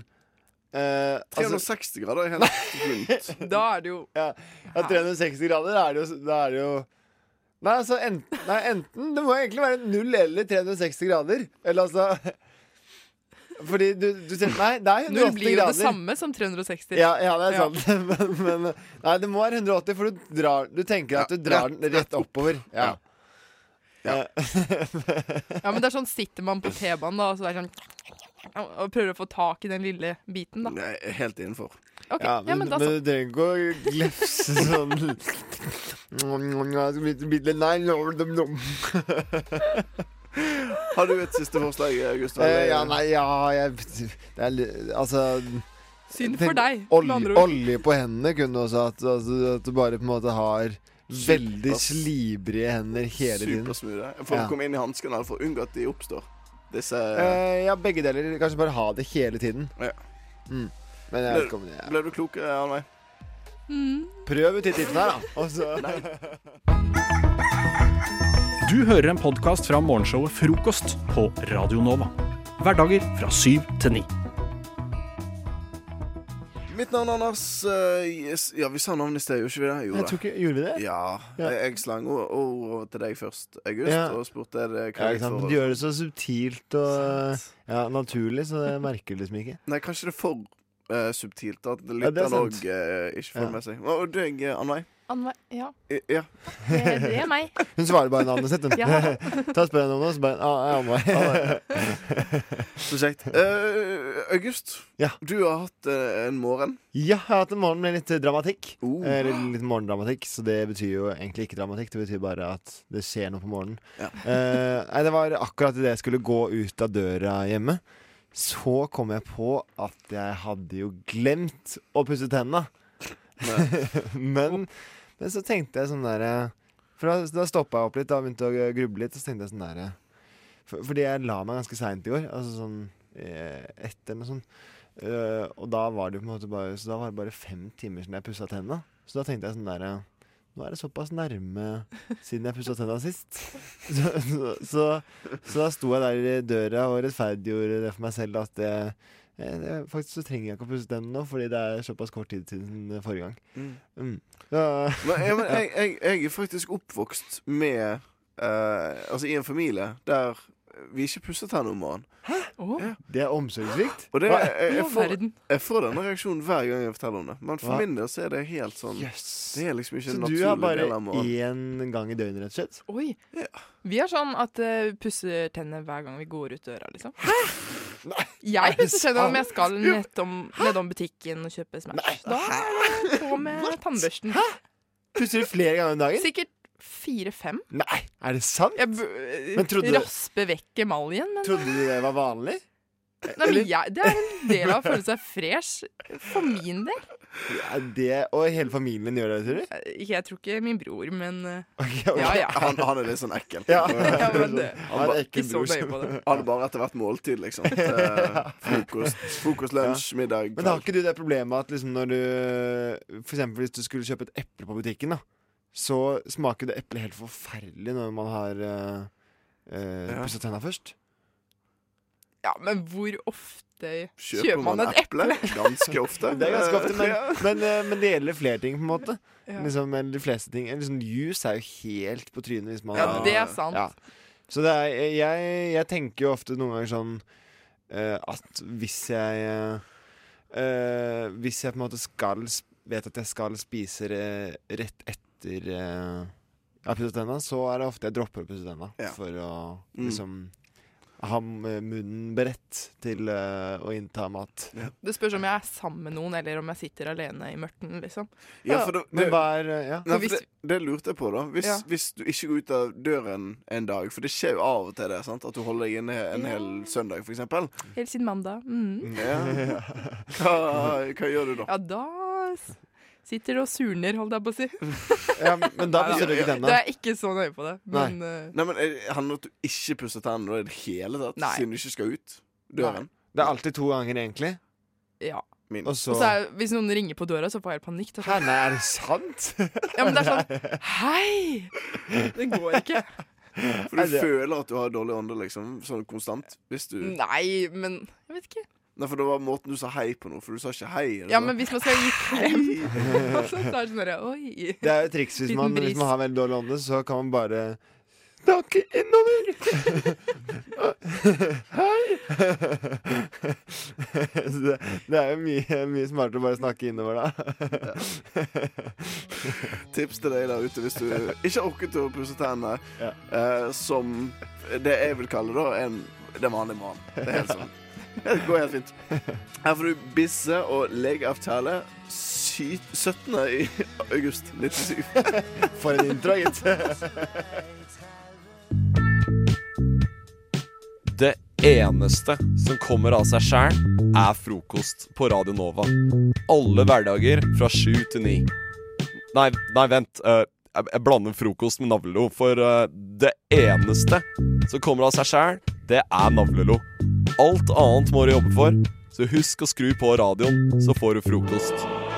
Speaker 15: Eh, altså,
Speaker 12: 360 grader er helt rundt.
Speaker 16: Da er det jo
Speaker 15: ja, ja, 360 grader da er det jo, da er det jo Nei, altså enten, nei, enten Det må egentlig være null eller 360 grader. Eller altså Fordi du, du sier Nei, det er 180
Speaker 16: Null blir jo det
Speaker 15: grader.
Speaker 16: samme som 360.
Speaker 15: Ja, ja, det er sant. Men, men Nei, det må være 180, for du, drar, du tenker at du drar den rett oppover. Ja. Eh,
Speaker 16: Ja, men det er sånn sitter man på T-banen, da, og så er det sånn Og prøver å få tak i den lille biten, da.
Speaker 12: Nei, helt innenfor.
Speaker 16: Ok,
Speaker 15: ja,
Speaker 16: ja,
Speaker 15: men,
Speaker 16: men da
Speaker 15: men
Speaker 16: så.
Speaker 15: du trenger ikke å glefse sånn Nei,
Speaker 12: Har du et siste forslag, Gustav?
Speaker 15: Eh, ja, nei, ja jeg, det er, li- Altså
Speaker 16: Synd
Speaker 15: tenk-
Speaker 16: for deg, med andre
Speaker 15: Olje,
Speaker 16: ord.
Speaker 15: olje på hendene kunne også hatt altså, At du bare på en måte har veldig slibrige hender hele tiden.
Speaker 12: Supersmoothe. For
Speaker 15: Ja.
Speaker 12: å komme inn i hanskene, eller for å unngå at de oppstår. Disse
Speaker 15: Eh, ja, begge deler. Kanskje bare ha det hele tiden.
Speaker 12: Ja.
Speaker 15: Mm. Men jeg
Speaker 12: ble,
Speaker 15: vet ikke om det
Speaker 12: ble du klok eh, av meg?
Speaker 16: Mm.
Speaker 15: Prøv ut de tipsene her, da. Og så
Speaker 1: Du hører en podkast fra morgenshowet Frokost på Radio Nova. Hverdager fra syv til ni.
Speaker 12: Mitt navn er Anders. eh, yes. Ja, vi sa navnet i sted, gjorde ikke vi det? Jo
Speaker 15: Jeg
Speaker 12: da.
Speaker 15: tror ikke- Gjorde vi det?
Speaker 12: Ja.
Speaker 15: Ja.
Speaker 12: Jeg, jeg slang ord ord over til deg først, August,
Speaker 15: Ja.
Speaker 12: og spurte er det
Speaker 15: ja,
Speaker 12: hva
Speaker 15: ikke sant?
Speaker 12: jeg
Speaker 15: Men Du
Speaker 12: får.
Speaker 15: gjør det så subtilt og ja, naturlig, så det merker du liksom ikke.
Speaker 12: Nei, kanskje det er for eh, subtilt at
Speaker 15: Ja, det er
Speaker 12: lytteren
Speaker 15: sant.
Speaker 12: òg ikke får
Speaker 15: Ja.
Speaker 12: det med seg. Og deg, eh, Ann-Vei?
Speaker 16: Anne, ja.
Speaker 12: I- Ja.
Speaker 16: Det, det er meg.
Speaker 15: Hun svarer bare navnet sitt, hun.
Speaker 16: Ja.
Speaker 15: Ta og spør henne om noe, så bare ah, jeg er meg.
Speaker 12: Så kjekt. Eh, August, du har hatt eh, en morgen.
Speaker 15: Ja, jeg har hatt en morgen med litt eh, dramatikk.
Speaker 12: Oh.
Speaker 15: Eller litt morgendramatikk, så det betyr jo egentlig ikke dramatikk. Det betyr bare at det skjer noe på morgenen. Eh, nei, det var akkurat idet jeg skulle gå ut av døra hjemme, så kom jeg på at jeg hadde jo glemt å pusse tenna. men, men så tenkte jeg sånn derre For da, da stoppa jeg opp litt, da begynte jeg å gruble litt, og så tenkte jeg sånn derre for, Fordi jeg la meg ganske seint i går, altså sånn eh, etter eller noe sånt. Eh, og da var det jo på en måte bare Så da var det bare fem timer siden jeg pussa tenna. Så da tenkte jeg sånn derre Nå er det såpass nærme siden jeg pussa tenna sist. Så, så, så, så da sto jeg der i døra og rettferdiggjorde det for meg selv at det, eh, det, faktisk så trenger jeg ikke å pusse tennene nå, fordi det er såpass kort tid siden forrige gang.
Speaker 12: Mm.
Speaker 15: Mm. Ja.
Speaker 12: Men, jeg, men jeg, jeg, jeg er faktisk oppvokst med eh, Altså i en familie der vi ikke pusser tennene om morgenen.
Speaker 15: Det er omsorgssvikt.
Speaker 12: Og det,
Speaker 15: Hva?
Speaker 12: jeg, jeg, får, jeg får denne reaksjonen hver gang jeg forteller om det. Men for
Speaker 15: Hva?
Speaker 12: min del så er det helt sånn Det er liksom ikke
Speaker 15: Så
Speaker 12: en
Speaker 15: du har
Speaker 12: naturlig
Speaker 15: bare
Speaker 12: del av morgenen.
Speaker 15: én gang i døgnet, rett og slett?
Speaker 16: Oi. Vi er sånn at eh, vi pusser tennene hver gang vi går ut døra, liksom.
Speaker 15: Er
Speaker 16: Jeg
Speaker 15: det
Speaker 16: pusser tennene om jeg skal
Speaker 15: sant?
Speaker 16: nedom, nedom butikken og kjøpe Smash. Da er det på med tannbørsten.
Speaker 15: Pusser du flere ganger om dagen?
Speaker 16: Sikkert Fire-fem.
Speaker 15: Nei, er det sant?
Speaker 16: Jeg bu-
Speaker 15: Men trodde du-
Speaker 16: raspe vekk emaljen, men eh,
Speaker 15: Trodde du det var vanlig?
Speaker 16: Nei, men jeg, Det er en del av å føle seg fresh. eh, For min del.
Speaker 15: Er det, og hele familien gjør det, tror du?
Speaker 16: Ikke- Eh, Jeg tror ikke min bror, men eh,
Speaker 12: Ja,
Speaker 16: Ja, ja.
Speaker 12: Han, han er litt sånn ekkel.
Speaker 15: Ja.
Speaker 16: Ja, men det-
Speaker 12: han, ba,
Speaker 16: Ikke så nøye på det.
Speaker 12: han bare etter hvert måltid, liksom. Eh, Frokost, frokost lunsj, middag,
Speaker 15: Men har
Speaker 12: kveld.
Speaker 15: ikke du det problemet at liksom når du For eksempel hvis du skulle kjøpe et eple på butikken, da, så smaker det eplet helt forferdelig når man har uh,
Speaker 12: Ja.
Speaker 15: pussa tenna først?
Speaker 16: Ja, men hvor ofte
Speaker 15: Kjøper
Speaker 16: kjøper, man
Speaker 15: man
Speaker 16: et eple?
Speaker 12: Ganske ofte.
Speaker 15: Det er ganske ofte, men,
Speaker 12: Ja.
Speaker 15: men, eh, men det gjelder flere ting, på en måte.
Speaker 16: Ja.
Speaker 15: Liksom, eller de fleste ting Eller liksom, Juice er jo helt på trynet hvis man
Speaker 16: Ja, det er sant.
Speaker 15: Ja. Så det er, jeg, jeg tenker jo ofte noen ganger sånn eh, at hvis jeg eh, Hvis jeg på en måte skal sp- Vet at jeg skal spise eh, rett etter uh, jeg har pusset tenna, så er det ofte jeg dropper å pusse tenna
Speaker 12: Ja.
Speaker 15: for å
Speaker 12: Mm.
Speaker 15: liksom ha eh, munnen beredt til eh, å innta mat.
Speaker 16: Det spørs om jeg er sammen med noen, eller om jeg sitter alene i mørten, liksom.
Speaker 12: Ja, for det, det,
Speaker 15: eh,
Speaker 12: Nei,
Speaker 16: For
Speaker 12: for det,
Speaker 16: hvis-
Speaker 12: det lurte jeg på, da. Hvis,
Speaker 16: Ja.
Speaker 12: hvis du ikke går ut av døren en dag, for det skjer jo av og til det, sant? at du holder deg inne en hel søndag, for eksempel.
Speaker 16: Helt siden mandag. Mhm.
Speaker 12: Ja. Hva, hva gjør du da?
Speaker 16: Ja, da s- sitter du og surner, holdt jeg på å si.
Speaker 15: Ja, men da
Speaker 12: Nei,
Speaker 15: pusser du
Speaker 12: ja,
Speaker 15: ikke
Speaker 12: ja.
Speaker 15: tenna.
Speaker 16: Da er jeg ikke så nøye på det. Men eh,
Speaker 12: Nei, men eh, handler det om at du ikke pusser tennene i det hele tatt,
Speaker 16: Nei.
Speaker 12: siden du ikke skal ut døren?
Speaker 15: Det er alltid to ganger, egentlig.
Speaker 16: ja.
Speaker 12: Min.
Speaker 15: Og så
Speaker 16: Og så er, hvis noen ringer på døra, så får jeg helt panikk. Da.
Speaker 15: Hæ, nei, er det sant?
Speaker 16: Ja, men det er sånn Hei! Det går ikke.
Speaker 12: For
Speaker 16: Nei,
Speaker 12: du
Speaker 16: det-
Speaker 12: føler at du har dårlig ånde, liksom, sånn konstant? Hvis du
Speaker 16: Nei, men jeg vet ikke.
Speaker 12: Nei, for det var måten du sa hei på nå, for du sa ikke hei. eller
Speaker 16: Ja,
Speaker 12: noe.
Speaker 16: men hvis man skal gi klem, så er det sånn derre Oi.
Speaker 15: Det er jo et triks hvis
Speaker 16: Liten
Speaker 15: man, hvis
Speaker 16: bris.
Speaker 15: man har veldig dårlig ånde, så kan man bare
Speaker 16: Snakke innover!
Speaker 15: Så det, det er jo mye, mye smartere å bare snakke innover, da.
Speaker 12: Tips til deg der ute hvis du ikke har orket å pusse tennene, eh, som det jeg vil kalle da en den vanlige mannen. Det er helt sånn. Det går helt fint. Her får du Bisse og legeavtale sy- 17. i august 97.
Speaker 15: For en intro, gitt.
Speaker 7: Det eneste som kommer av seg sjæl, er frokost på Radio Nova. Alle hverdager fra sju til ni. Nei, nei, vent. eh, jeg, jeg blander frokost med navlelo, for eh, det eneste som kommer av seg sjæl, det er navlelo. Alt annet må du jobbe for, så husk å skru på radioen, så får du frokost.